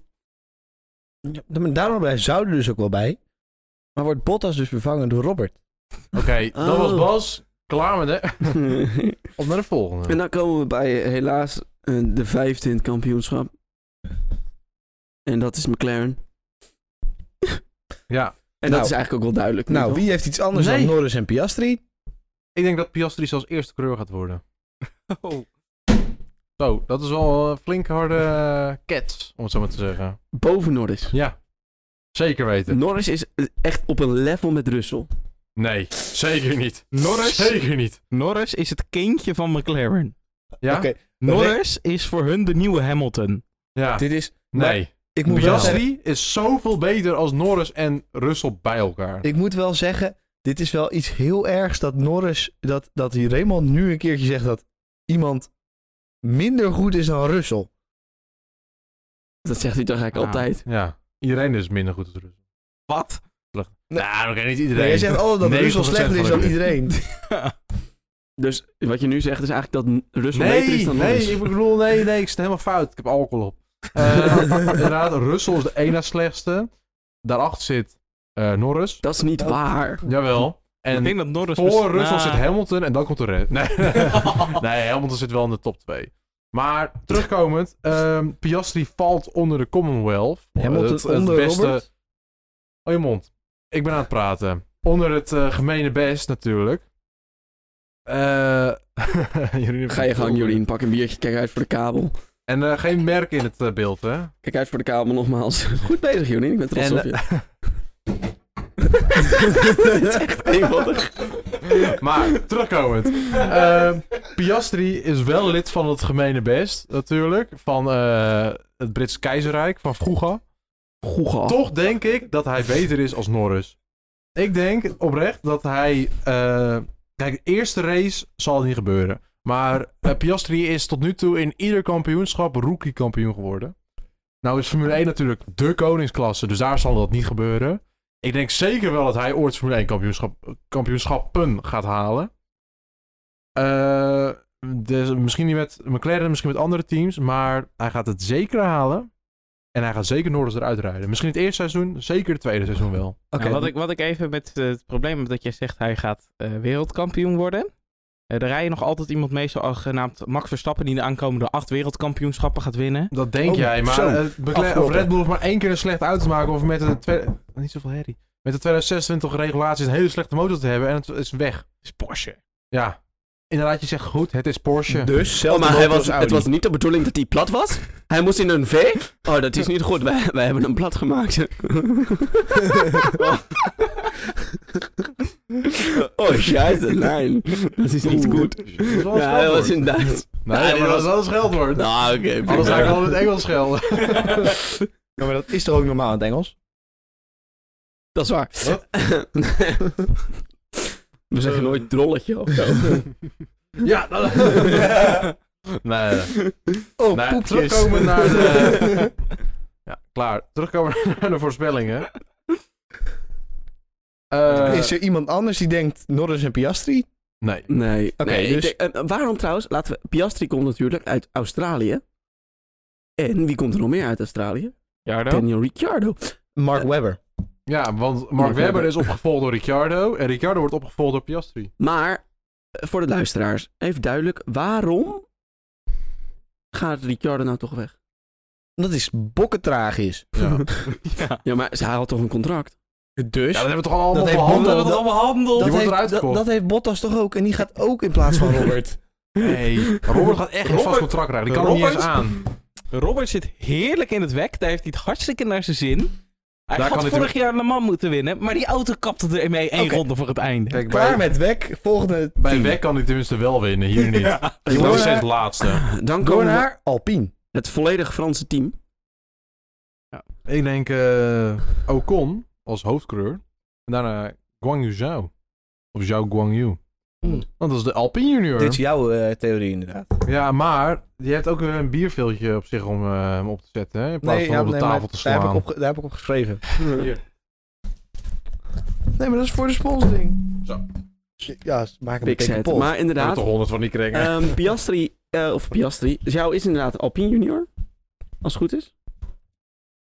Ja, maar Daarom blijft Sauber dus ook wel bij. Maar wordt Bottas dus vervangen door Robert? Oké, dat was Oh. Bas. Klaar met hè? Op naar de en volgende. dan komen we bij eh, helaas eh, de vijfde in het kampioenschap. En dat is McLaren. Ja, En Nou. dat is eigenlijk ook wel duidelijk. Nou, niet wie heeft iets anders Nee. dan Norris en Piastri? ik denk dat Piastri zelfs eerste coureur gaat worden. Oh. Zo, dat is wel een flink harde eh, cat, om het zo maar te zeggen. wel? Boven Norris. Ja, zeker weten. Norris is eh, echt op een level met Russell. Nee, zeker niet. Norris? Zeker niet. Norris is het kindje van McLaren. Ja? Oké, Norris is voor hun de nieuwe Hamilton. Ja. dit is... Nee. Ik moet, wel zeggen, Piastri is zoveel beter als Norris en Russell bij elkaar. ik moet wel zeggen, dit is wel iets heel ergs dat Norris, dat, dat die Raymond nu een keertje zegt dat iemand minder goed is dan Russell. Dat zegt hij toch eigenlijk Ah. altijd. Ja. Iedereen is minder goed als Russell. Wat? Nee, nou, oké, niet iedereen. Nee, jij zegt altijd dat 90% Russell slechter is van dan de- iedereen. Dus wat je nu zegt is eigenlijk dat Russell beter is Nee, dan nee, Norris. ik bedoel, nee, nee, ik zit helemaal fout. Ik heb alcohol op. Eh, inderdaad, Russell is de ene na slechtste. Daarachter zit eh, Norris. Dat is niet Ja. waar. Jawel. ik En denk dat Norris... voor Russell Ah. zit Hamilton en dan komt de Red. Nee. nee, Hamilton zit wel in de top 2. Maar terugkomend, ehm, Piastri valt onder de Commonwealth. Hamilton onder Robert. Oh, je mond. Ik ben aan het praten. Onder het eh, gemene best natuurlijk. Eh, Jorien heeft Ga je een gang, oor. Jorien. Pak een biertje. Kijk uit voor de kabel. En eh, geen merk in het eh, beeld, hè? Kijk uit voor de kabel nogmaals. Goed bezig, Jorien. Ik ben trots En, eh, op je. Het is echt eenvoudig. Maar, terugkomend. Eh, Piastri is wel lid van het gemene best, natuurlijk. Van eh, het Brits keizerrijk, van vroeger. Goed gehad. Toch denk ik dat hij beter is als Norris. Ik denk oprecht dat hij... eh, kijk, de eerste race zal het niet gebeuren. Maar eh, Piastri is tot nu toe in ieder kampioenschap rookie kampioen geworden. Nou is Formule 1 natuurlijk de koningsklasse, dus daar zal dat niet gebeuren. Ik denk zeker wel dat hij ooit Formule 1 kampioenschap, kampioenschappen gaat halen. Eh, dus misschien niet met McLaren, misschien met andere teams, maar hij gaat het zeker halen. En hij gaat zeker Norris eruit rijden. Misschien het eerste seizoen, zeker het tweede seizoen wel. Nou, wat, ik, wat ik even met eh, het probleem heb dat jij zegt hij gaat eh, wereldkampioen worden. Eh er rijdt nog altijd iemand mee, zo- genaamd Max Verstappen, die de aankomende acht wereldkampioenschappen gaat winnen. Dat denk Oh, jij, maar zo. eh, McLaren- of Afkloppen. Red Bull hoeft maar één keer een slecht auto te maken of met de twe- niet zoveel herrie. Met de 2026 regulaties een hele slechte motor te hebben en het is weg. is Porsche. Ja. Inderdaad, je zegt goed, het is Porsche. Dus, zelfs maar hij was, het was niet de bedoeling dat hij plat was. Hij moest in een V. Oh, dat is niet goed. Wij, wij hebben hem plat gemaakt. oh, scheiße, nein. Dat is niet goed. Dat is Ja, wel een dat scheldwoord. was inderdaad. Nee, Ja, maar dat dat is wel een scheldwoord. Nou, oké. Anders ga ik prima. al in het Engels schelden. Ja, maar dat is toch ook normaal in het Engels? Dat is waar. We zeggen nooit drolletje of zo. ja, dat... nee, nee. Oh, Nou ja, poepjes. terugkomen naar de- Ja, klaar. Terugkomen naar de voorspellingen. Eh, is er iemand anders die denkt Norris en Piastri? Nee. Nee. Oké, nee, ik dus- denk- eh, waarom trouwens? Laten we... Piastri komt natuurlijk uit Australië. En wie komt er nog meer uit Australië? Jardo? Daniel Ricciardo. Mark Webber. Ja, want Mark, Mark Webber Webber. is opgevolgd door Ricciardo. En Ricciardo wordt opgevolgd door Piastri. Maar eh, voor de luisteraars, even duidelijk, waarom gaat Ricciardo nou toch weg? Dat is bokkentragisch. Ja. Ja. Ja, maar ze- hij had toch een contract? Dus? dat hebben we toch allemaal heeft behandeld? Bottas- allemaal handel! dat, wordt heeft, eruit dat, gekocht. dat heeft Bottas toch ook? En die gaat ook in plaats van Robert. Nee. Robert gaat echt een vast Robert- contract krijgen. Die kan er niet eens Robert? aan. Robert zit heerlijk in het wek, daar heeft hij het hartstikke naar zijn zin. Hij Daar kan had hij vorig jaar Le Mans moeten winnen, maar die auto kapte er mee één Oké. ronde voor het einde. Kijk, Klaar bij, met Wek. Volgende bij team. Weg kan hij tenminste wel winnen. Hier niet. Ja. Die Door wordt naar- steeds laatste. Dan Door komen we- naar Alpine. het volledig Franse team. Ik denk eh, Ocon als hoofdcoureur. En daarna Guangyu Zhao. Of Zhao Guangyu. Hmm. Want dat is de Alpine junior. Dit is jouw eh, theorie inderdaad. Ja, maar die heeft ook weer een bierveeltje op zich om eh, hem op te zetten. Hè? In plaats van ja, op de nee, tafel maar te Daar heb, slaan. ik op, ge- daar heb ik op geschreven. Hier. Nee, maar dat is voor de sponsoring. Zo. Ja, ze maken een Big beetje set. kapot. Maar Ik heb inderdaad, toch honderd van die kringen. ehm, Piastri, eh, of Piastri, jou is inderdaad Alpine junior. Als het goed is.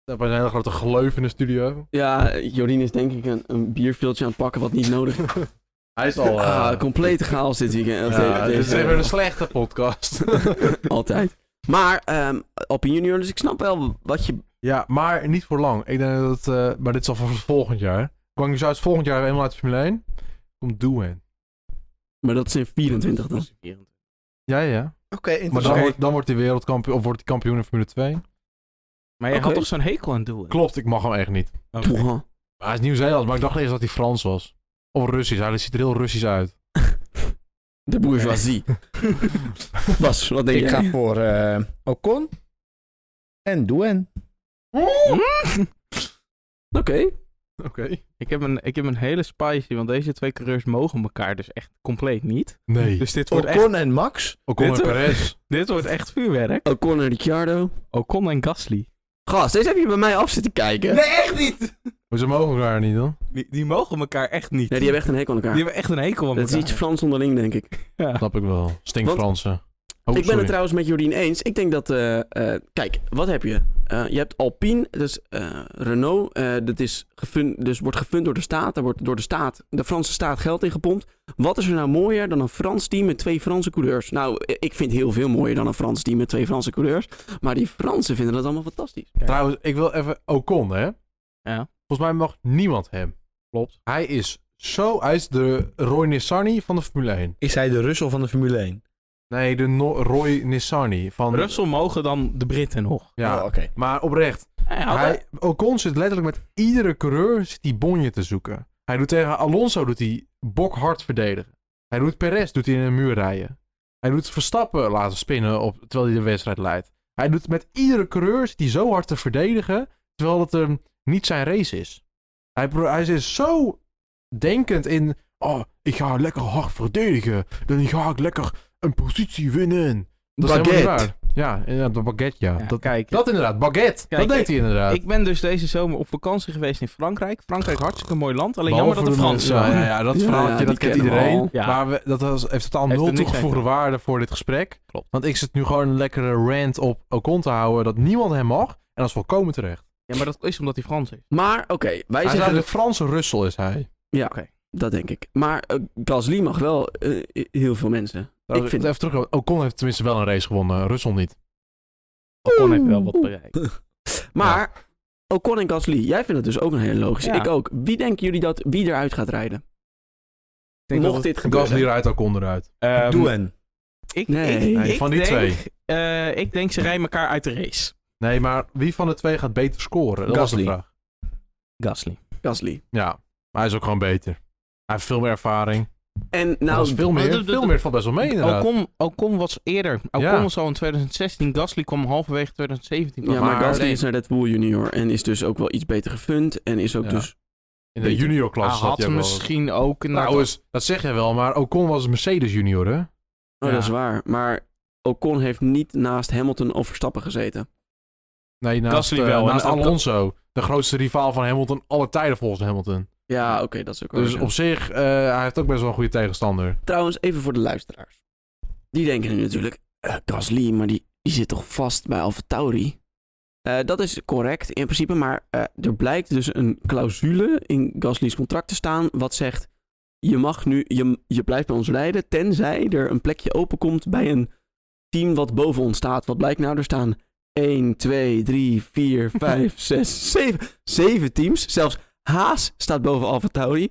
Dat was een hele grote gleuf in de studio. Ja, Jorien is denk ik een, een bierveeltje aan het pakken wat niet nodig is. Hij is al... eh, Ah, complete chaos dit weekend. Of ja, de- dit is deze- even een slechte podcast. Altijd. Maar ehm Alpine Junior, dus ik snap wel wat je... ja, maar niet voor lang. Ik denk dat... eh, maar dit is al voor volgend jaar. Kwang uit volgend jaar eenmaal uit de Formule 1. Komt Doen. Maar dat is in 24 dan. Ja, ja. Maar dan, Oké. wordt, dan wordt hij wereldkampioen... Of wordt hij kampioen in Formule 2. Maar je Oké. had toch zo'n hekel aan doen? Klopt, ik mag hem echt niet. Poeh. Hij is Nieuw-Zeeland, maar ik dacht eerst dat hij Frans was. Of Russisch. Hij ziet er heel Russisch uit. De bourgeoisie. Bas, wat denk ik jij? ga voor eh, Ocon en Doen. Oké. Oké. Ik heb, een, ik heb een hele spicy, want deze twee coureurs mogen elkaar dus echt compleet niet. Nee. Dus dit wordt, echt, Ocon en Max. Ocon en Dit- Perez. dit wordt echt vuurwerk. Ocon en Oh, Ricciardo. Ocon en Gasly. Gast, deze heb je bij mij af zitten kijken. Nee, echt niet! Maar ze mogen elkaar niet, dan. Die, die mogen elkaar echt niet. Nee, die hebben echt een hekel aan elkaar. Die hebben echt een hekel aan Dat is elkaar. iets Frans onderling, denk ik. Ja. Snap ik wel. Stink Want- Fransen. Oh, ik ben sorry. het trouwens met Jordien eens. Ik denk dat... eh, eh, kijk, wat heb je? Eh, je hebt Alpine, dat is eh, Renault. eh, dat is gefund, dus wordt gefund door de staat. Daar wordt door de staat, de Franse staat, geld in gepompt. Wat is er nou mooier dan een Frans team met twee Franse coureurs? Nou, eh, ik vind heel veel mooier dan een Frans team met twee Franse coureurs. Maar die Fransen vinden dat allemaal fantastisch. Trouwens, ik wil even Ocon, hè? Ja. Volgens mij mag niemand hem. Klopt. Hij is zo... Hij is de Roy Nissani van de Formule 1. Is hij de Russel van de Formule 1? Nee, de No- Roy Nissani van... Russell mogen dan de Britten nog. Ja, Oh, oké. maar oprecht. Hij had- Hij, Ocon zit letterlijk met iedere coureur zit die bonje te zoeken. Hij doet tegen Alonso doet hij bokhard verdedigen. Hij doet Perez doet hij in een muur rijden. Hij doet Verstappen laten spinnen op, terwijl hij de wedstrijd leidt. Hij doet met iedere coureur zit hij zo hard te verdedigen, terwijl het hem niet zijn race is. Hij, pro- hij is zo denkend in, oh, ik ga lekker hard verdedigen. Dan ga ik lekker een positie winnen. Dat is helemaal niet waar. Ja, inderdaad, de baguette, ja. Ja, dat, kijk, dat inderdaad, baguette. Kijk, dat deed hij inderdaad. ik ben dus deze zomer op vakantie geweest in Frankrijk. Frankrijk, hartstikke mooi land. Alleen Behalve jammer dat de mensen- Fransen... Ja, ja, ja, dat Ja, verhaaltje, ja, die dat kent kennen we iedereen. al. Ja. Maar we, dat was, heeft totaal Heeft er nul niks toegevoegde mee te waarde voor dit gesprek. Klopt. Want ik zit nu gewoon een lekkere rant op Ocon te houden dat niemand hem mag. En dat is volkomen terecht. Ja, maar dat is omdat hij Frans is. Maar oké, wij Hij is zeggen... eigenlijk de Franse Russel is hij. Dat denk ik. Maar eh, Gasly mag wel eh, heel veel mensen. Trouwens, vind- Even terug, Ocon heeft tenminste wel een race gewonnen, Russel niet. Ocon heeft wel wat bereikt. Maar Ocon en Gasly, jij vindt het dus ook een hele logische. Ja. Ik ook. Wie denken jullie dat wie eruit gaat rijden? denk Mocht dat dit gebeuren. Gasly rijdt Ocon eruit. Ehm, Doen. Ik, Nee. ik- Nee, ik van die denk, twee. eh, ik denk ze rijden elkaar uit de race. Nee, maar wie van de twee gaat beter scoren? Dat was de Gasly. vraag. Gasly. Gasly. Ja, maar hij is ook gewoon beter. Hij heeft veel meer ervaring. En Nou, nou, veel de- meer. de- de- Veel meer valt best wel mee inderdaad. Ocon, Ocon was eerder. Ocon Ja. was al in 2016. Gasly kwam halverwege 2017. ja, maar maar Gasly nee. is naar Red Bull junior en is dus ook wel iets beter gefund en is ook Ja. dus... In de beter. junior Hij klas zat had hij ook wel. misschien ook... een Nou, is, dat zeg jij wel, maar Ocon was een Mercedes junior, hè? Oh, Ja. dat is waar. Maar Ocon heeft niet naast Hamilton of Verstappen gezeten. Nee, naast, Gasly eh, wel, en naast ook- Alonso. De grootste rivaal van Hamilton alle tijden volgens Hamilton. Ja, oké, dat is ook wel Dus weer zo. op zich, eh, hij heeft ook best wel een goede tegenstander. Trouwens, even voor de luisteraars. Die denken nu natuurlijk, eh, Gasly, maar die, die zit toch vast bij AlphaTauri? Eh, dat is correct in principe, maar eh, er blijkt dus een clausule in Gasly's contract te staan wat zegt, je mag nu, je, je blijft bij ons rijden, tenzij er een plekje openkomt bij een team wat boven ons staat. Wat blijkt nou? Er staan 1, 2, 3, 4, 5, 6, 7, 7 teams. Zelfs Haas staat boven AlphaTauri.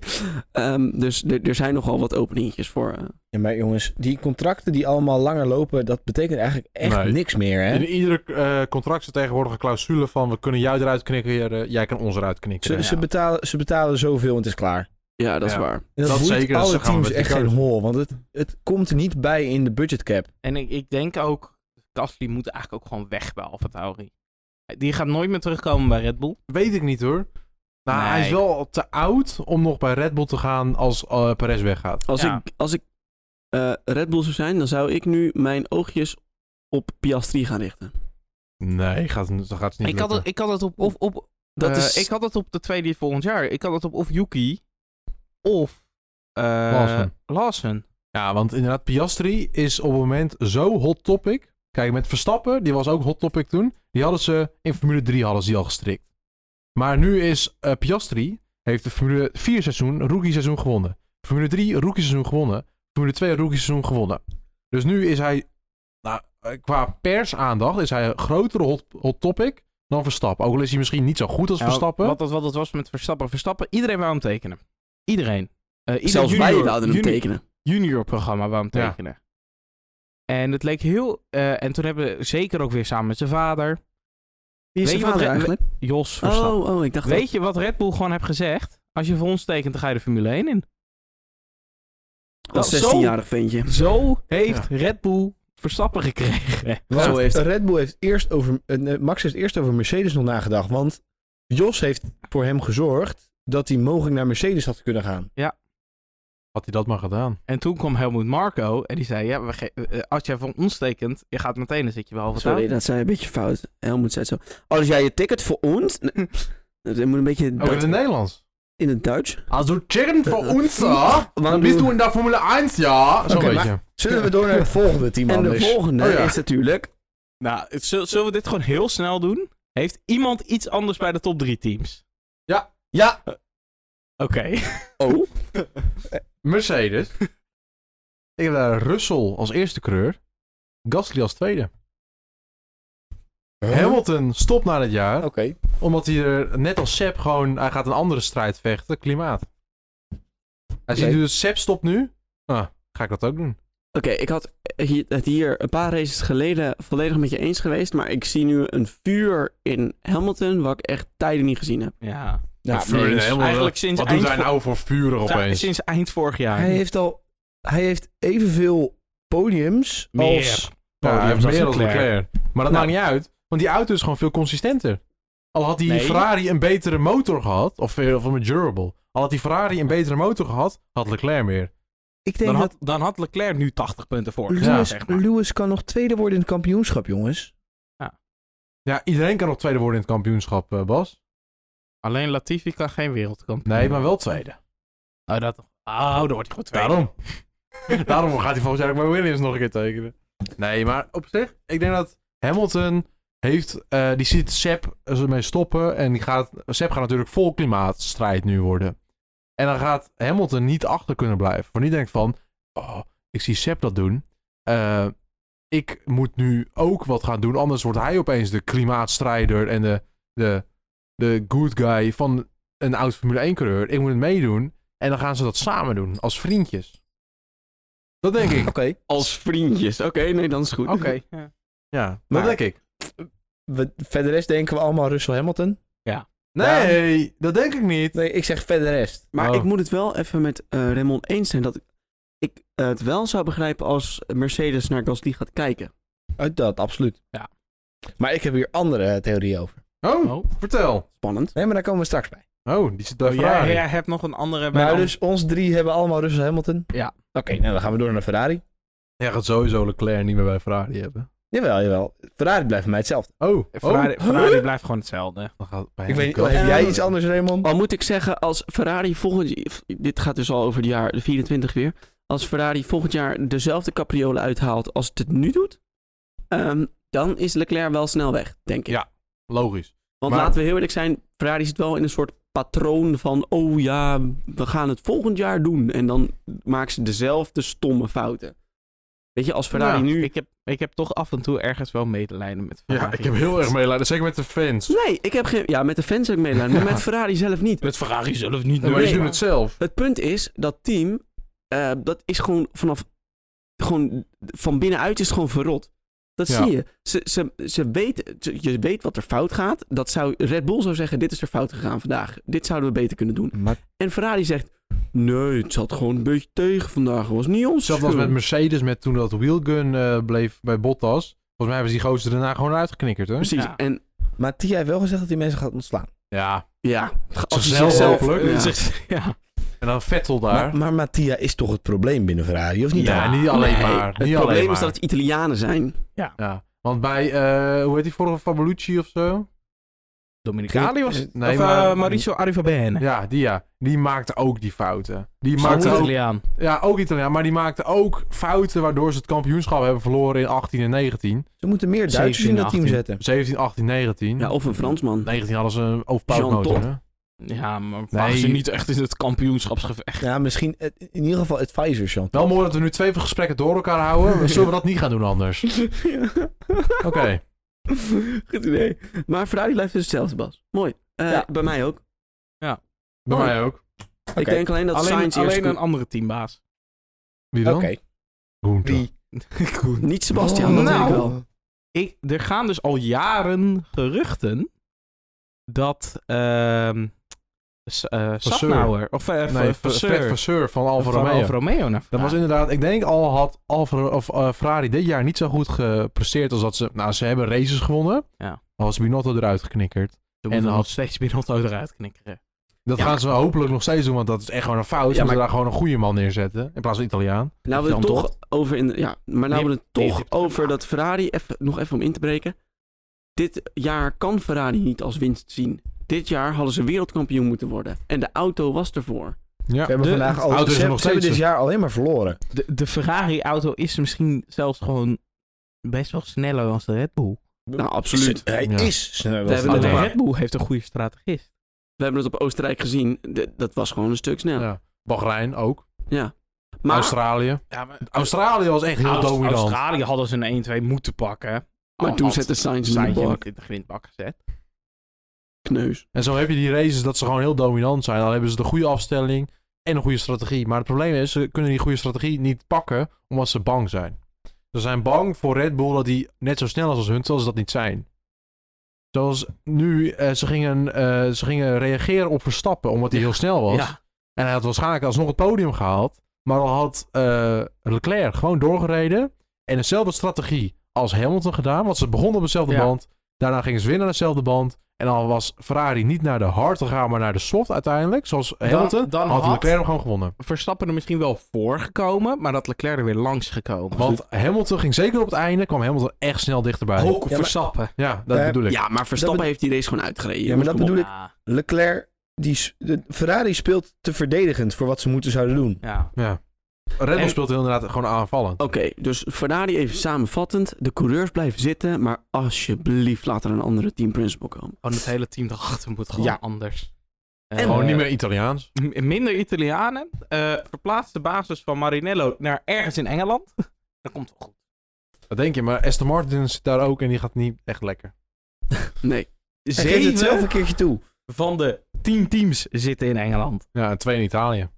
Ehm dus er er zijn nogal wat openingetjes voor. eh, Ja, maar jongens, die contracten die allemaal langer lopen, dat betekent eigenlijk echt Nee. niks meer, hè? In iedere eh, contract zit tegenwoordig een clausule van... we kunnen jou eruit knikken, eh, jij kan ons eruit knikken. Dus Ze, ze, betalen, ze betalen zoveel en het is klaar. Ja, dat is Ja. waar. En dat Dat boeit zeker, dat alle gaan we teams met die echt geen coach. hol, want het, het komt er niet bij in de budgetcap. En ik, ik denk ook... Gasly moet eigenlijk ook gewoon weg bij AlphaTauri. Die gaat nooit meer terugkomen bij Red Bull. Weet ik niet, hoor. Nou, Nee. hij is wel te oud om nog bij Red Bull te gaan als eh, Perez weggaat. Als Ja. ik, als ik eh, Red Bull zou zijn, dan zou ik nu mijn oogjes op Piastri gaan richten. Nee, gaat, dat gaat niet Ik had, eh. het, ik had het op... op, op Dat eh, is- Ik had het op de tweede volgend jaar. Ik had het op of Yuki... Of... eh, Lawson. Lawson. Dus Ja, want inderdaad, Piastri is op het moment zo hot topic. Kijk, met Verstappen, die was ook hot topic toen. Die hadden ze in Formule 3 hadden ze die al gestrikt. Maar nu is eh, Piastri, heeft de Formule 4 seizoen, rookie seizoen gewonnen. Formule 3 rookie seizoen gewonnen. Formule 2 rookie seizoen gewonnen. Dus nu is hij, nou, eh, qua persaandacht, is hij een grotere hot, hot topic dan Verstappen. Ook al is hij misschien niet zo goed als Ja, Verstappen. Nou, Wat dat, wat dat was met Verstappen. Verstappen, iedereen wou hem tekenen. Iedereen. Eh, ieder Zelfs wij junior- wilden hem junior- tekenen. juniorprogramma wou hem Ja. tekenen. En het leek heel... eh, en toen hebben we zeker ook weer samen met zijn vader, Wie Weet zijn je wat vader Red- eigenlijk? Jos Verstappen. Oh, oh, ik dacht dat- Weet je wat Red Bull gewoon heeft gezegd? Als je voor ons tekent, dan ga je de Formule 1 in. als dat- 16-jarig ventje. Zo heeft Red Bull Verstappen gekregen. Zo Want heeft- Red Bull heeft eerst over, eh, nee, Max heeft eerst over Mercedes nog nagedacht. Want Jos heeft voor hem gezorgd dat hij mogelijk naar Mercedes had kunnen gaan. Had hij dat maar gedaan. En toen kwam Helmoet Marco en die zei... Ja, we ge- eh, als jij voor ons tekent, je gaat meteen, dan zit je wel wat Sorry, aan. dat zei een beetje fout. Helmut zei het zo. Oh, dus jij je ticket voor ons? Nee. Dat moet een Oh, beetje Ook in dat- het Nederlands. in het Duits. Als du chicken voor ons, dan bist du in de Formule 1, ja. Zo Oké, weet maar- je. Zullen we door naar het volgende team En de anders? volgende Oh ja. is natuurlijk... Nou, het- zul- zullen we dit gewoon heel snel doen? Heeft iemand iets anders bij de top 3 teams? Ja. Oké. Oh, Mercedes. Ik heb daar Russell als eerste coureur. Gasly als tweede. Hamilton stopt na dit jaar. Oké. Omdat hij er net als Sepp gewoon... Hij gaat een andere strijd vechten. Klimaat. Hij ziet Oké. nu dat Sepp stopt nu. Ah, ga ik dat ook doen. Oké, ik had hier, het hier een paar races geleden volledig met je eens geweest. Maar ik zie nu een vuur in Hamilton, wat ik echt tijden niet gezien heb. Ja. Nou, Fury nee, en dus- Eigenlijk sinds Wat doet eind hij nou voor vurig opeens? Sinds eind vorig jaar. hij heeft al hij heeft evenveel podiums Meer. als... Ja, hij podium heeft als meer dan Leclerc. Nou, Leclerc. Maar dat maakt niet uit, want die auto is gewoon veel consistenter. Al had die Nee. Ferrari een betere motor gehad, of veel van durable. Al had die Ferrari een betere motor gehad, had Leclerc meer. Ik denk Dan dat had, dan had Leclerc nu 80 punten voor. Ja, Lewis, zeg maar. Lewis kan nog tweede worden in het kampioenschap, jongens. Ja, iedereen kan nog tweede worden in het kampioenschap, eh, Bas. Alleen Latifi kan geen wereldkampioen. Nee, maar wel tweede. Oh, dat... oh dan wordt hij goed tweede. Daarom. Daarom gaat hij volgens mij ook bij Williams nog een keer tekenen. Nee, maar op zich, ik denk dat Hamilton heeft, eh, die ziet Sepp ermee stoppen. En die gaat, Sepp gaat natuurlijk vol klimaatstrijd nu worden. En dan gaat Hamilton niet achter kunnen blijven. Want die denkt van, oh, ik zie Sepp dat doen. Eh, ik moet nu ook wat gaan doen. Anders wordt hij opeens de klimaatstrijder en de, de, de good guy van een oud Formule 1 coureur. Ik moet het meedoen. En dan gaan ze dat samen doen, als vriendjes. Dat denk ik. Oké. Als vriendjes. Oké, nee, dan is het goed. Oké. Ja. Ja, Maar- dat denk ik. We- Verder rest denken we allemaal Russell Hamilton. Nee, dat denk ik niet. Nee, ik zeg verder rest. Maar Oh. ik moet het wel even met eh Raymond eens zijn dat ik, ik eh, het wel zou begrijpen als Mercedes naar Gasly gaat kijken. Uit dat, absoluut. Ja. Maar ik heb hier andere eh, theorieën over. Oh, Oh. vertel. Spannend. Nee, maar daar komen we straks bij. Oh, die zit bij Oh, jij, Ferrari. jij hebt nog een andere bij Maar de- dus ons drie hebben allemaal Russell Hamilton. Ja. Oké, nou dan gaan we door naar Ferrari. Jij gaat sowieso Leclerc niet meer bij Ferrari hebben. Jawel, jawel. Ferrari blijft voor mij hetzelfde. Oh, Ferrari, oh. Ferrari blijft gewoon hetzelfde. Dan gaat bij ik hem weet niet, Gasly. heb jij iets anders, Raymond? Al moet ik zeggen, als Ferrari volgend jaar... Dit gaat dus al over het jaar de 24 weer. Als Ferrari volgend jaar dezelfde capriolen uithaalt als het het nu doet... ehm, dan is Leclerc wel snel weg, denk ik. Ja. Logisch. Want maar- laten we heel eerlijk zijn, Ferrari zit wel in een soort patroon van... oh ja, we gaan het volgend jaar doen. En dan maken ze dezelfde stomme fouten. Weet je, als Ferrari Ja, nu... Ik heb, ik heb toch af en toe ergens wel medelijden met Ferrari. Ja, ik heb heel erg meelijden. Zeker met de fans. Nee, ik heb geen... Ja, met de fans heb ik medelijden, maar met Ferrari zelf niet. Met Ferrari zelf niet. maar nee, ze doen maar- het zelf. Het punt is, dat team, eh, dat is gewoon vanaf, gewoon van binnenuit is het gewoon verrot. Dat Ja. zie je. Ze, ze, ze weten, ze- je weet wat er fout gaat. Dat zou, Red Bull zou zeggen, dit is er fout gegaan vandaag. Dit zouden we beter kunnen doen. Maar En Ferrari zegt, nee, het zat gewoon een beetje tegen vandaag. Het was niet ons Zelfs als schuld. met Mercedes, met toen dat wheelgun eh, bleef bij Bottas. Volgens mij hebben ze die gozer daarna gewoon uitgeknikkerd, hè? Precies. Ja. En Mattia heeft wel gezegd dat hij mensen gaat ontslaan. Ja. ja, als je Zelf- zichzelf- Zelfelijk. ja. ja. En dan Vettel daar. Maar, maar Mattia is toch het probleem binnen Ferrari, of niet? ja, niet alleen Nee, maar. Het niet probleem alleen is maar. dat het Italianen zijn. Ja, want bij, eh, hoe heet die vorige, Fabelucci of zo? Dominicali was het. Nee, of maar- eh, Mauricio Arrivabene. Ja, die ja. Die maakte ook die fouten. Die Maar maakte ook, Italiaan. ja, ook Italiaan, maar die maakte ook fouten waardoor ze het kampioenschap hebben verloren in 18 en 19. Ze moeten meer Duitsers in 17, dat team 18. zetten. 17, 18, 19. Ja, of een Fransman. 19 hadden ze een overpowered Jean motor, Todt. hè? Ja, maar waren Nee. ze niet echt in het kampioenschapsgevecht? Ja, misschien eh, in ieder geval advisors, Jan. Wel mooi dat we nu twee gesprekken door elkaar houden. Zullen we dat niet gaan doen anders? Oké. Goed idee. Maar Ferrari blijft dus hetzelfde, Bas. Mooi. Eh, Ja. Bij mij ook. Bij mij ook. Ik denk alleen dat alleen Sainz eerst... alleen een andere teambaas. Wie Oké. dan? Gunther. Wie? Goed. Niet Sebastian, Oh. dat Nou. weet ik wel. Ik, er gaan dus al jaren geruchten dat ehm S- eh, Safnauer, of eh, Nee, Vasseur Fred Vasseur van Alfa van Romeo. Alfa Romeo naar Dat was Ferrari. inderdaad, ik denk al had Alfa, of, eh, Ferrari dit jaar niet zo goed gepresteerd als dat ze... Nou, ze hebben races gewonnen. Ja. Maar was Binotto eruit geknikkerd. Ze en moeten had- nog steeds Binotto eruit knikkeren. Dat Ja. gaan ze hopelijk nog steeds doen, want dat is echt gewoon een fout. Ja, Ja, maar- maar... daar gewoon een goede man neerzetten, in plaats van Italiaan. Nou, we het Jan toch over in de- ja, maar nou Nee, we het nee, toch dit- over dat Ferrari, even, nog even om in te breken. Dit jaar kan Ferrari niet als winst zien. Dit jaar hadden ze wereldkampioen moeten worden. En de auto was ervoor. Ja. We hebben de- vandaag al, de auto is ze, er hebben- nog ze hebben steeds. dit jaar alleen maar verloren. De, de Ferrari-auto is misschien zelfs gewoon best wel sneller dan de Red Bull. Nou, absoluut. Ze- Hij Ja. is sneller We dan hebben Maar de het Ferrari. maar. Red Bull heeft een goede strategist. We hebben het op Oostenrijk gezien. De- dat was gewoon een stuk sneller. Ja. dus- Ja. Bahrein ook. Maar Australië. Ja, maar Australië was echt heel dominant. Australië hadden ze een 1-2 moeten pakken. Maar Al toen had zette Sainz hem in Sainz de hem bak. in de grindbak gezet. Kneus. En zo heb je die races dat ze gewoon heel dominant zijn. Dan hebben ze de goede afstelling en een goede strategie. Maar het probleem is, ze kunnen die goede strategie niet pakken omdat ze bang zijn. Ze zijn bang voor Red Bull dat die net zo snel is als hun, terwijl ze dat niet zijn. Zoals nu, eh, ze, gingen, eh, ze gingen reageren op Verstappen omdat hij heel snel was. Ja, En hij had waarschijnlijk alsnog het podium gehaald. Maar al had eh, Leclerc gewoon doorgereden. En dezelfde strategie als Hamilton gedaan. Want ze begonnen op dezelfde Ja. band. Daarna gingen ze weer naar dezelfde band. En dan was Ferrari niet naar de hard gegaan, maar naar de soft uiteindelijk. Zoals Hamilton. Dan, Eh, dan had, had- Leclerc hem gewoon gewonnen. Verstappen er misschien wel voor gekomen, maar dat Leclerc er weer langs gekomen. Want Hamilton ging zeker op het einde, kwam Hamilton echt snel dichterbij. ook maar- Verstappen. Ja, dat Eh, bedoel ik. Ja, maar Verstappen Dat heeft die race gewoon uitgereden. Ja, maar jongens, dat kom op. bedoel ik. Ja, Leclerc, die, s- de- Ferrari speelt te verdedigend voor wat ze moeten zouden doen. ja. Ja. Red Bull En- speelt inderdaad gewoon aanvallend. Oh, Oké, dus Ferrari even samenvattend. De coureurs blijven zitten, maar alsjeblieft laat er een andere team principal komen. Gewoon het hele team erachter moet gewoon Ja. anders. En- gewoon Eh, niet meer Italiaans. m- Minder Italianen. eh verplaatst de basis van Marinello naar ergens in Engeland. Dat komt wel goed. Dat denk je, maar Aston Martin zit daar ook en die gaat niet echt lekker. Nee. Hij geeft het zelf een Zeven keertje toe. van de tien teams zitten in Engeland. Ja, en twee in Italië.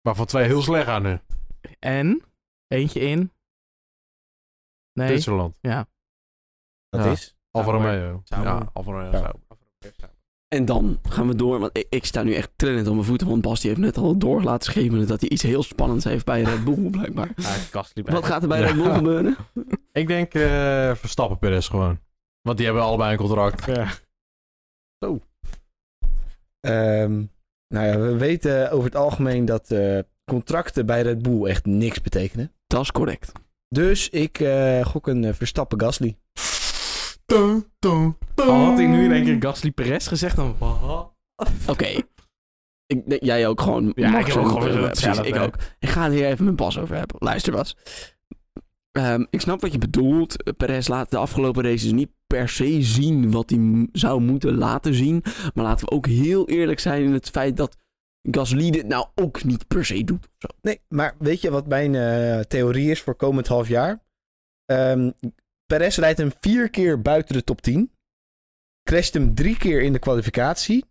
Waarvan twee heel slecht aan nu. En eentje in. Nee. Zwitserland. Dat Ja. is. Alfa Sauber. Romeo. Sauber. Ja, Alfa Romeo. Ja. Sauber. En dan gaan we door, want ik, ik sta nu echt trillend op mijn voeten, want Bas die heeft net al door laten schemeren dat hij iets heel spannends heeft bij Red Bull, blijkbaar. Ah, Gasly bij. Wat gaat er bij Ja. Red Bull gebeuren? Ik denk eh, Verstappen Perez gewoon. Want die hebben allebei een contract. Ja. Ehm, nou ja, we weten over het algemeen dat eh, contracten bij Red Bull echt niks betekenen. Dat is correct. Dus ik eh, gok een eh, Verstappen Gasly. Al had ik nu in één keer Gasly Perez gezegd, dan... Oké. Ik denk- Jij ook gewoon. Ja, Max ik heb ook en- gewoon weer eh, hetzelfde, precies, ik hè. ook. Ik ga het hier even mijn pas over hebben. Luister Bas. Ehm, ik snap wat je bedoelt. Eh, Perez laat de afgelopen races niet per se zien wat hij m- zou moeten laten zien. Maar laten we ook heel eerlijk zijn in het feit dat Gasly dit nou ook niet per se doet. Of zo. Nee, maar weet je wat mijn eh, theorie is voor komend half jaar? Ehm Perez rijdt hem vier keer buiten de top 10. Crasht hem drie keer in de kwalificatie.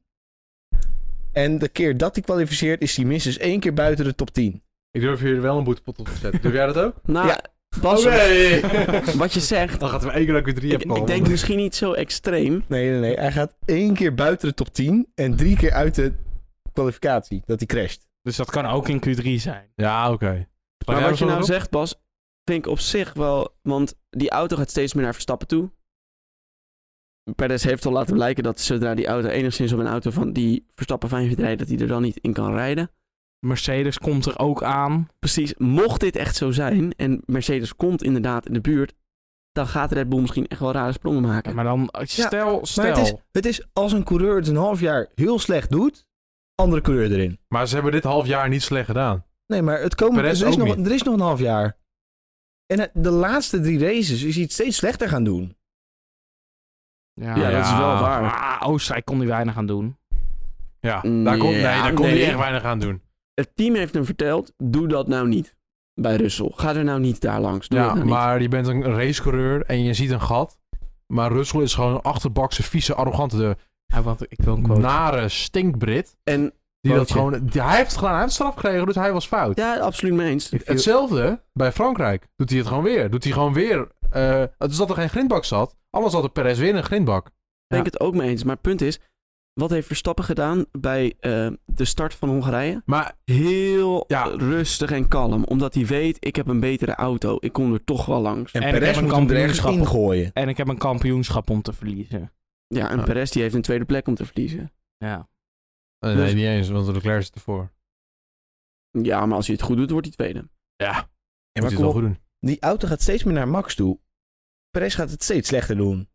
En de keer dat hij kwalificeert is hij minstens één keer buiten de top 10. Ik durf hier wel een boetepot op te zetten. Durf jij dat ook? Nou, Ja. Bas, nee! wat je zegt. Dan gaat er één keer dat ik weer drie Ik, heb ik denk misschien niet zo extreem. Nee, nee, nee. Hij gaat één keer buiten de top 10 en drie keer uit de kwalificatie dat hij crasht. Dus dat kan ook in Q3 zijn. Ja, oké. Maar wat je nou zegt, Bas, vind ik op zich wel. Want die auto gaat steeds meer naar Verstappen toe. Perez heeft al laten blijken dat zodra die auto enigszins op een auto van die Verstappen 5 rijdt, dat hij er dan niet in kan rijden. Mercedes komt er ook aan. Precies, mocht dit echt zo zijn en Mercedes komt inderdaad in de buurt, dan gaat Red Bull misschien echt wel rare sprongen maken. Maar dan, stel, stel. Maar het is, het is als een coureur het een half jaar heel slecht doet, andere coureur erin. Maar ze hebben dit half jaar niet slecht gedaan. Nee, maar het komen, er, Perez is ook nog, niet. er is nog een half jaar. En eh, de laatste drie races is hij het steeds slechter gaan doen. Ja, dat is wel waar. Ah, Oostenrijk kon hij weinig aan doen. Ja, daar kon, nee, Ja, daar kon nee. hij echt weinig aan doen. Het team heeft hem verteld, doe dat nou niet. Bij Russell. Ga er nou niet daar langs. Doe Ja, dat nou niet. maar je bent een racecoureur en je ziet een gat. Maar Russell is gewoon een achterbakse, vieze, arrogante, de Ja, want ik wil een quote. nare stinkbrit. En Die dat Quoteje. gewoon, die- hij heeft het gedaan, hij heeft straf gekregen, dus hij was fout. ja, absoluut mee eens. If you- Hetzelfde bij Frankrijk. Doet hij het gewoon weer. Doet hij gewoon weer. eh, het is dat er geen grindbak zat. Alles had er Perez weer in een grindbak. Ik denk het ook mee eens. Maar het punt is, wat heeft Verstappen gedaan bij eh, de start van Hongarije? Maar Heel Ja. rustig en kalm. Omdat hij weet, ik heb een betere auto. Ik kom er toch wel langs. En, En ik Perez heb een moet hem er ergens kampioenschap. ingooien. En ik heb een kampioenschap om te verliezen. Ja, en Ja. Perez die heeft een tweede plek om te verliezen. Ja. eh, Dus- nee, niet eens, want Leclerc zit ervoor. Ja, maar als hij het goed doet, wordt hij tweede. Ja, En moet hij maar kom het wel op, goed doen. die auto gaat steeds meer naar Max toe. Perez gaat het steeds slechter doen.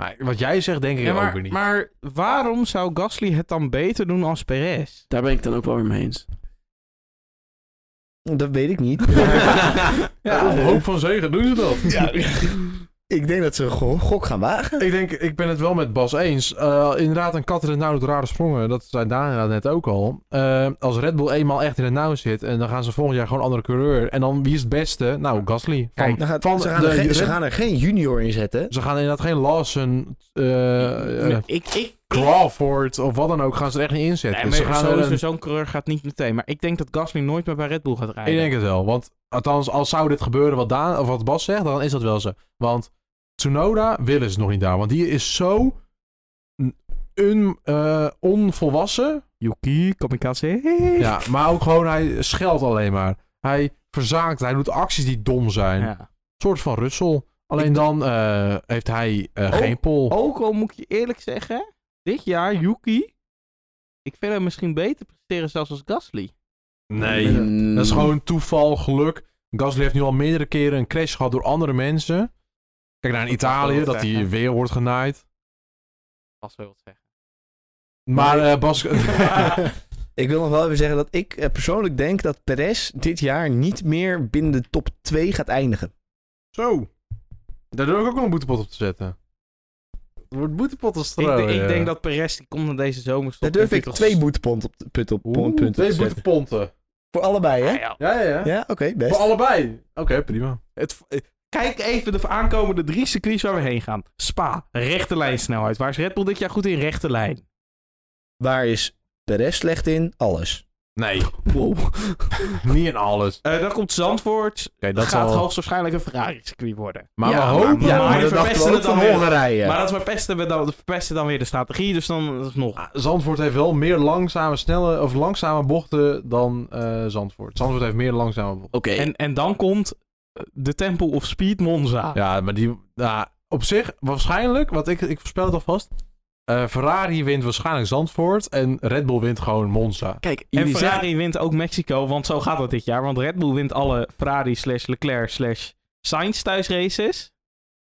Maar wat jij zegt, denk ik Ja, ook weer maar, niet. maar waarom zou Gasly het dan beter doen als Perez? Daar ben ik dan ook wel weer mee eens. Dat weet ik niet. Ja, op hoop van zegen doen ze dat. Ja. ik denk dat ze een go- gok gaan wagen. Ik denk, ik ben het wel met Bas eens. Eh, inderdaad, een kat in het nauw doet rare sprongen. Dat zei Daniel nou net ook al. Eh, als Red Bull eenmaal echt in het nauw zit... en dan gaan ze volgend jaar gewoon andere coureur. En dan, wie is het beste? Nou, Gasly. Van- Dan gaat- van ze, gaan de- er geen, Red- ze gaan er geen junior in zetten. Ze gaan inderdaad geen Lawson, eh eh, Nee, ik, ik, Crawford of wat dan ook... gaan ze er echt niet inzetten. nee, Dus maar ze gaan er sowieso een- zo'n coureur gaat niet meteen. Maar ik denk dat Gasly nooit meer bij Red Bull gaat rijden. Ik denk het wel. Want althans, als zou dit gebeuren wat, Daan, of wat Bas zegt, dan is dat wel zo. Want Tsunoda willen ze nog niet daar. Want die is zo n- un, eh, onvolwassen. Yuki, kamikaze. Ja, maar ook gewoon, hij scheldt alleen maar. Hij verzaakt, hij doet acties die dom zijn. Een Ja. soort van Russell. Alleen dan eh, heeft hij eh, Oh, geen pol. Ook al moet ik je eerlijk zeggen, dit jaar Yuki, ik vind hem misschien beter presteren zelfs als Gasly. Nee. Dat Mm, is gewoon toeval, geluk. Gasly heeft nu al meerdere keren een crash gehad door andere mensen. Kijk naar in Dat mag wel Italië, wat dat hij zeggen. weer wordt genaaid. Als we wat zeggen. Maar eh, Bas... Ik wil nog wel even zeggen dat ik eh, persoonlijk denk dat Perez dit jaar niet meer binnen de top 2 gaat eindigen. Zo. Daar durf ik ook wel een boetepot op te zetten. Het wordt boetepot als Ik, denk- ik denk dat Perez, die komt naar deze zomerstop. Daar durf dat ik hij toch- twee boetepont op, put op, punten op te Twee zetten. boeteponten. Voor allebei, hè? Ah, ja. Ja, ja, ja. Ja, oké, best. Voor allebei. Oké, prima. Het- eh, kijk even de aankomende drie circuits waar we heen gaan. Spa, rechte lijnsnelheid. Waar is Red Bull dit jaar goed in? Rechte lijn. Waar is Perez slecht in? Alles. Nee. Niet in alles. Oké, Eh, dan komt Zandvoort. dat gaat zal... hoogstwaarschijnlijk een Ferrari-circuit worden. Maar Ja, we hopen... maar- maar- dat dachten we verpesten ook het van dan weer. Hongarije. Maar dat verpesten, we dan, verpesten dan weer de strategie. Dus dan dat is nog. Ah, Zandvoort heeft wel meer langzame, snelle... Of langzame bochten dan eh, Zandvoort. Zandvoort heeft meer langzame bochten. Oké, En, en dan komt eh, de Temple of Speed Monza. Ja, maar die... nou, op zich, waarschijnlijk... Want ik, ik voorspel het alvast. eh, Ferrari wint waarschijnlijk Zandvoort. En Red Bull wint gewoon Monza. kijk, En jullie Ferrari zeggen... wint ook Mexico, want zo gaat het dit jaar. Want Red Bull wint alle Ferrari slash Leclerc slash Sainz thuisraces.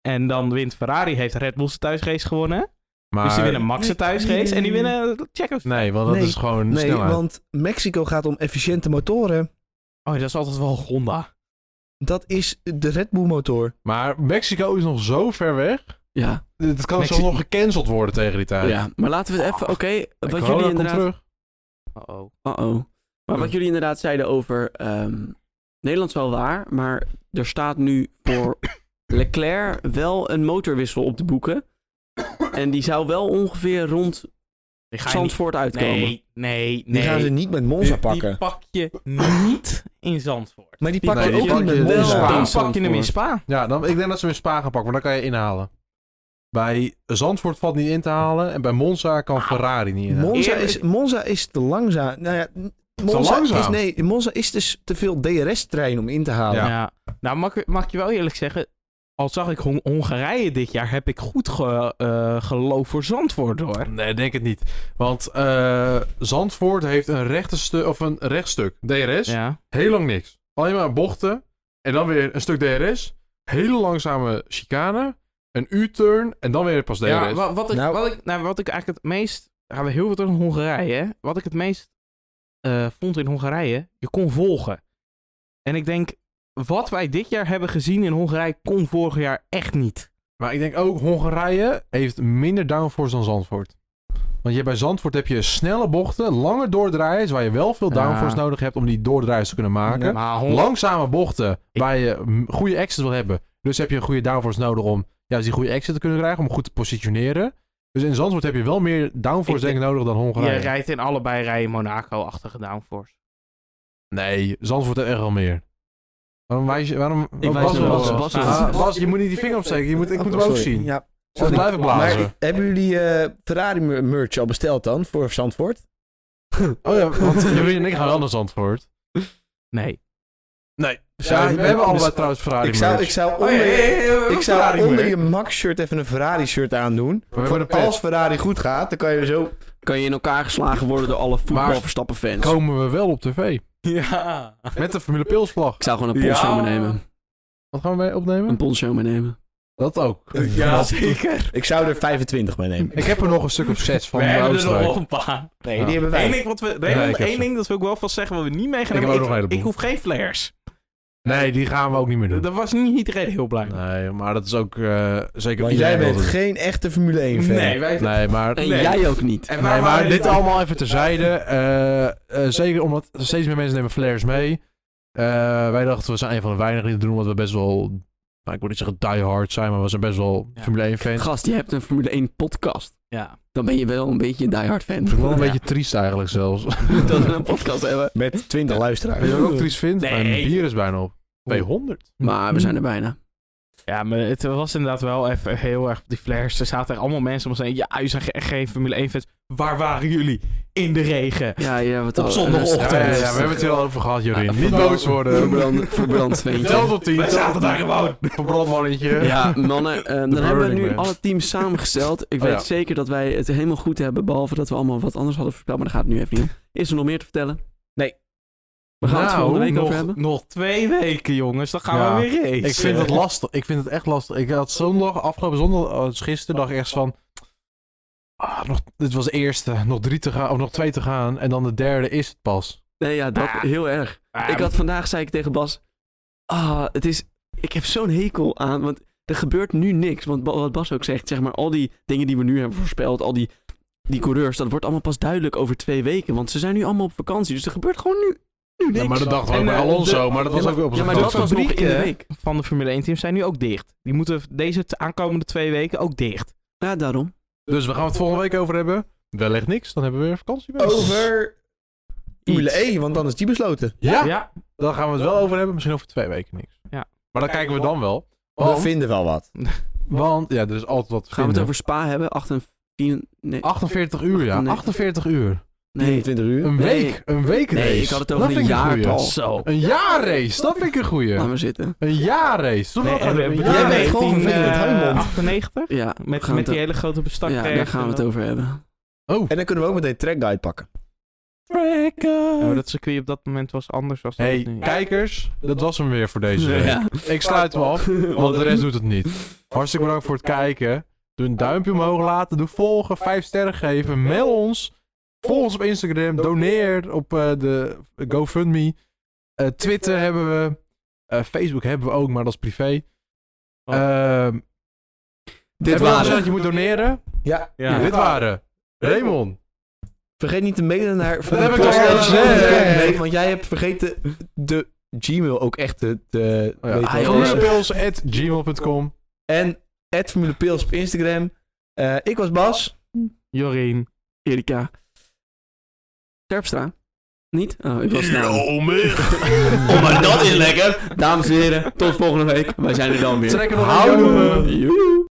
En dan wint Ferrari, heeft Red Bull zijn thuisrace gewonnen. Maar... Dus die winnen Max zijn thuisrace Nee, nee, en die nee. winnen Checo's. Nee, want dat Nee. is gewoon nee, snelheid. want Mexico gaat om efficiënte motoren. Oh, dat is altijd wel Honda. Dat is de Red Bull motor. Maar Mexico is nog zo ver weg. Ja, Het kan Mexi- zo nog gecanceld worden tegen die tijd. ja, maar laten we het even... Oké, En wat corona jullie komt inderdaad... terug. Oh, Uh-oh. Maar Hm. wat jullie inderdaad zeiden over ehm, Nederland is wel waar, maar er staat nu voor Leclerc wel een motorwissel op te boeken. En die zou wel ongeveer rond die ga je niet... Zandvoort uitkomen. Nee, nee, Die nee. gaan ze niet met Monza pakken. Die pak je niet in Zandvoort. maar die die pakken pak je ook niet wel. met Die Monza. pak Dan in pak je hem Zandvoort. in Spa. Ja, dan, ik denk dat ze hem in Spa gaan pakken, maar dan kan je inhalen. Bij Zandvoort valt niet in te halen en bij Monza Ah, kan Ferrari niet inhalen. Monza Eerlijk- is, Monza is te langzaam. Nou ja, Monza langzaam? Is, nee, Monza is dus te veel DRS-trein om in te halen. Ja. Ja. Nou, mag, ik- mag ik je wel eerlijk zeggen... Al zag ik Hon- Hongarije dit jaar, heb ik goed ge, eh, geloof voor Zandvoort, hoor. Nee, denk het niet. Want eh, Zandvoort heeft een, rechterstuk, of een rechtstuk, DRS, Ja. heel lang niks. Alleen maar bochten en dan weer een stuk DRS, hele langzame chicane, een U-turn en dan weer pas DRS. ja wa- wat, ik, Nou- wat, ik, nou, wat ik eigenlijk het meest... Gaan we heel veel terug naar Hongarije, hè? Wat ik het meest eh, vond in Hongarije, je kon volgen. En ik denk, wat wij dit jaar hebben gezien in Hongarije, kon vorig jaar echt niet. Maar ik denk ook Hongarije heeft minder downforce dan Zandvoort. Want je, bij Zandvoort heb je snelle bochten, lange doordraaiers, waar je wel veel Ja. downforce nodig hebt om die doordraaiers te kunnen maken. Maar honderd- Langzame bochten, waar je mm, goede exit wil hebben. Dus heb je een goede downforce nodig om juist die goede exit te kunnen krijgen, om goed te positioneren. Dus in Zandvoort heb je wel meer downforce Ik denk ik nodig dan je Hongarije. rijdt in allebei rijen Monaco-achtige downforce. Nee, Zandvoort heeft echt wel meer. Waarom wijs je... Waarom, Ik Bas, wijs Bas, er wel Bas, op. Bas, Bas, Ah, Bas. Bas, je moet niet die vinger opsteken. Je moet, ik moet hem ook zien. Oh, Ja. Anders blijf ik blazen. Maar hebben jullie eh, Ferrari mer- merch al besteld dan voor Zandvoort? Oh ja, want jullie en ik gaan wel naar Zandvoort. Nee. Ja, we hebben allebei trouwens Ferrari Ik zou, merch. Oh, ik zou Oh, onder, ik zou onder je Max-shirt even een Ferrari-shirt aandoen. We hebben een pet. Als Ferrari goed gaat, dan kan je zo... Kan je in elkaar geslagen worden door alle voetbalverstappen-fans? Komen we wel op tv. Ja. Met de Formule Pilsvlag. Ik zou gewoon een poncho Ja. meenemen. Wat gaan we mee opnemen? Een poncho meenemen. Dat ook. Ja, zeker. Ik zou er 25 mee nemen. Ik heb er nog een stuk of zes van we de hebben er nog Oostenrijk. wel een paar. Nee, Ja. die hebben wij. Eén ding, wat we, Nee, nee, ik heb één ze. ding dat wil ik wel vast zeggen wat we niet mee gaan Ik heb nemen. ook nog een heleboel. ik hoef geen flares. Nee, die gaan we ook niet meer doen. Daar was niet iedereen heel blij mee. Nee, maar dat is ook eh, zeker... Want iedereen jij wil bent het. geen echte Formule 1 fan. Nee, wij... Nee, maar... En Nee. jij ook niet. En waar Nee, maar waren dit die- allemaal even terzijde. Eh, eh, zeker omdat steeds meer mensen nemen flares mee. Eh, wij dachten, we zijn een van de weinigen die het doen, omdat we best wel... Nou, ik wil niet zeggen die hard zijn, maar we zijn best wel Ja. Formule 1 fans. Gast, je hebt een Formule 1 podcast. Ja. Dan ben je wel een beetje een diehard fan. Ik vind het wel een Ja. beetje triest eigenlijk zelfs. dat we een podcast hebben. Met 20 luisteraars. Weet je wat ik ook triest vind? Nee. Mijn bier is bijna op. 200. Maar we zijn er bijna. Ja, maar het was inderdaad wel even heel erg op die flares. Er zaten er allemaal mensen om te zeggen, ja, u zijn echt geen Formule 1 fans. Waar waren jullie? In de regen. Ja, ja, wat Op al- zondagochtend. Ja, ja, ja, we hebben het hier al over gehad, Jorin. Ja, Niet verbrand- boos worden. Verbrand, verbrand Tel ventje. tot 10. Wij zaten daar gewoon. Verbrand mannetje. Ja, mannen, eh, dan hebben we Burning nu Man. alle teams samengesteld. Ik Oh, weet ja. zeker dat wij het helemaal goed hebben, behalve dat we allemaal wat anders hadden voorspeld, maar daar gaat het nu even niet om. Is er nog meer te vertellen? Nee. We gaan het Nou, volgende week nog, over hebben. nog twee weken, jongens. Dan gaan Ja. we weer racen. Ik vind het lastig. Ik vind het echt lastig. Ik had zondag, afgelopen zondag, eh, dus gisteren, dacht ik echt van... Ah, nog, dit was de eerste. Nog drie te gaan, of nog twee te gaan. En dan de derde is het pas. Nee, ja, dat Ah. heel erg. Ah, Ik had vandaag, zei ik tegen Bas, ah, het is, ik heb zo'n hekel aan, want er gebeurt nu niks. Want ba- wat Bas ook zegt, zeg maar, al die dingen die we nu hebben voorspeld, al die, die coureurs, dat wordt allemaal pas duidelijk over twee weken. Want ze zijn nu allemaal op vakantie, dus er gebeurt gewoon nu, nu niks. Ja, maar dat dachten we En, ook bij eh, Alonso. de- maar dat was Ja, ook weer op Ja, zijn maar dat kant. was nog in de fabrieken- week. van de Formule 1 teams zijn nu ook dicht. Die moeten deze t- aankomende twee weken ook dicht. Ja, daarom. Dus we gaan het volgende week over hebben. Wellicht niks. Dan hebben we weer vakantie. bij. Over Formule 1, want dan is die besloten. Ja, dan gaan we het wel over hebben. Misschien over twee weken niks. Ja. Maar dan kijken we dan wel. We Want, vinden wel wat. want ja, er is altijd wat te Gaan we het vinden. over Spa hebben? 48, nee, 48 uur, ja. 98. 48 uur. nee, 20 uur. Een Nee. week. Een week race. nee, ik had het Dat over een vind ik goeie. jaartal. Zo. Een jaarrace. Dat vind ik een goeie. Laat maar zitten. Een jaarrace. Toch Nou, Nee, wel en we een hebben- Jij jaarrace. bent gewoon vervelend, eh, Raymond. 98 Ja, we met, gaan met het die hele grote bestak. o- ja, daar gaan we het over hebben. Oh, En dan kunnen we ook meteen trackguide pakken. Oh, dat circuit op dat moment was anders dan Hey, dat nu. kijkers, dat was hem weer voor deze week. Ja. Ik sluit hem af, want de rest doet het niet. Hartstikke bedankt voor het kijken. Doe een duimpje omhoog laten, doe volgen, 5 sterren geven, mail ons. Volg ons op Instagram, doneer op eh, de GoFundMe. Eh, Twitter hebben we. Eh, Facebook hebben we ook, maar dat is privé. Oh. Ehm, Dit hebben we al gezegd waren. dat je moet doneren? Ja. Ja. dit waren Raymond. Vergeet niet te mailen naar... Dat heb ik al gezegd. Nee, want jij hebt vergeten de Gmail ook echt te... te Oh ja. weten wat Ah, jongens. het is. Formulepils@gmail.com. En at Formule Pils op Instagram. Eh, ik was Bas. Jorien. Erika. Terpstra. Niet? Oh, ik was snel. Oh, maar dat is lekker. Dames en heren, tot volgende week. Wij zijn er dan weer. Trek er nog Houdoe. een. Joe. Joe.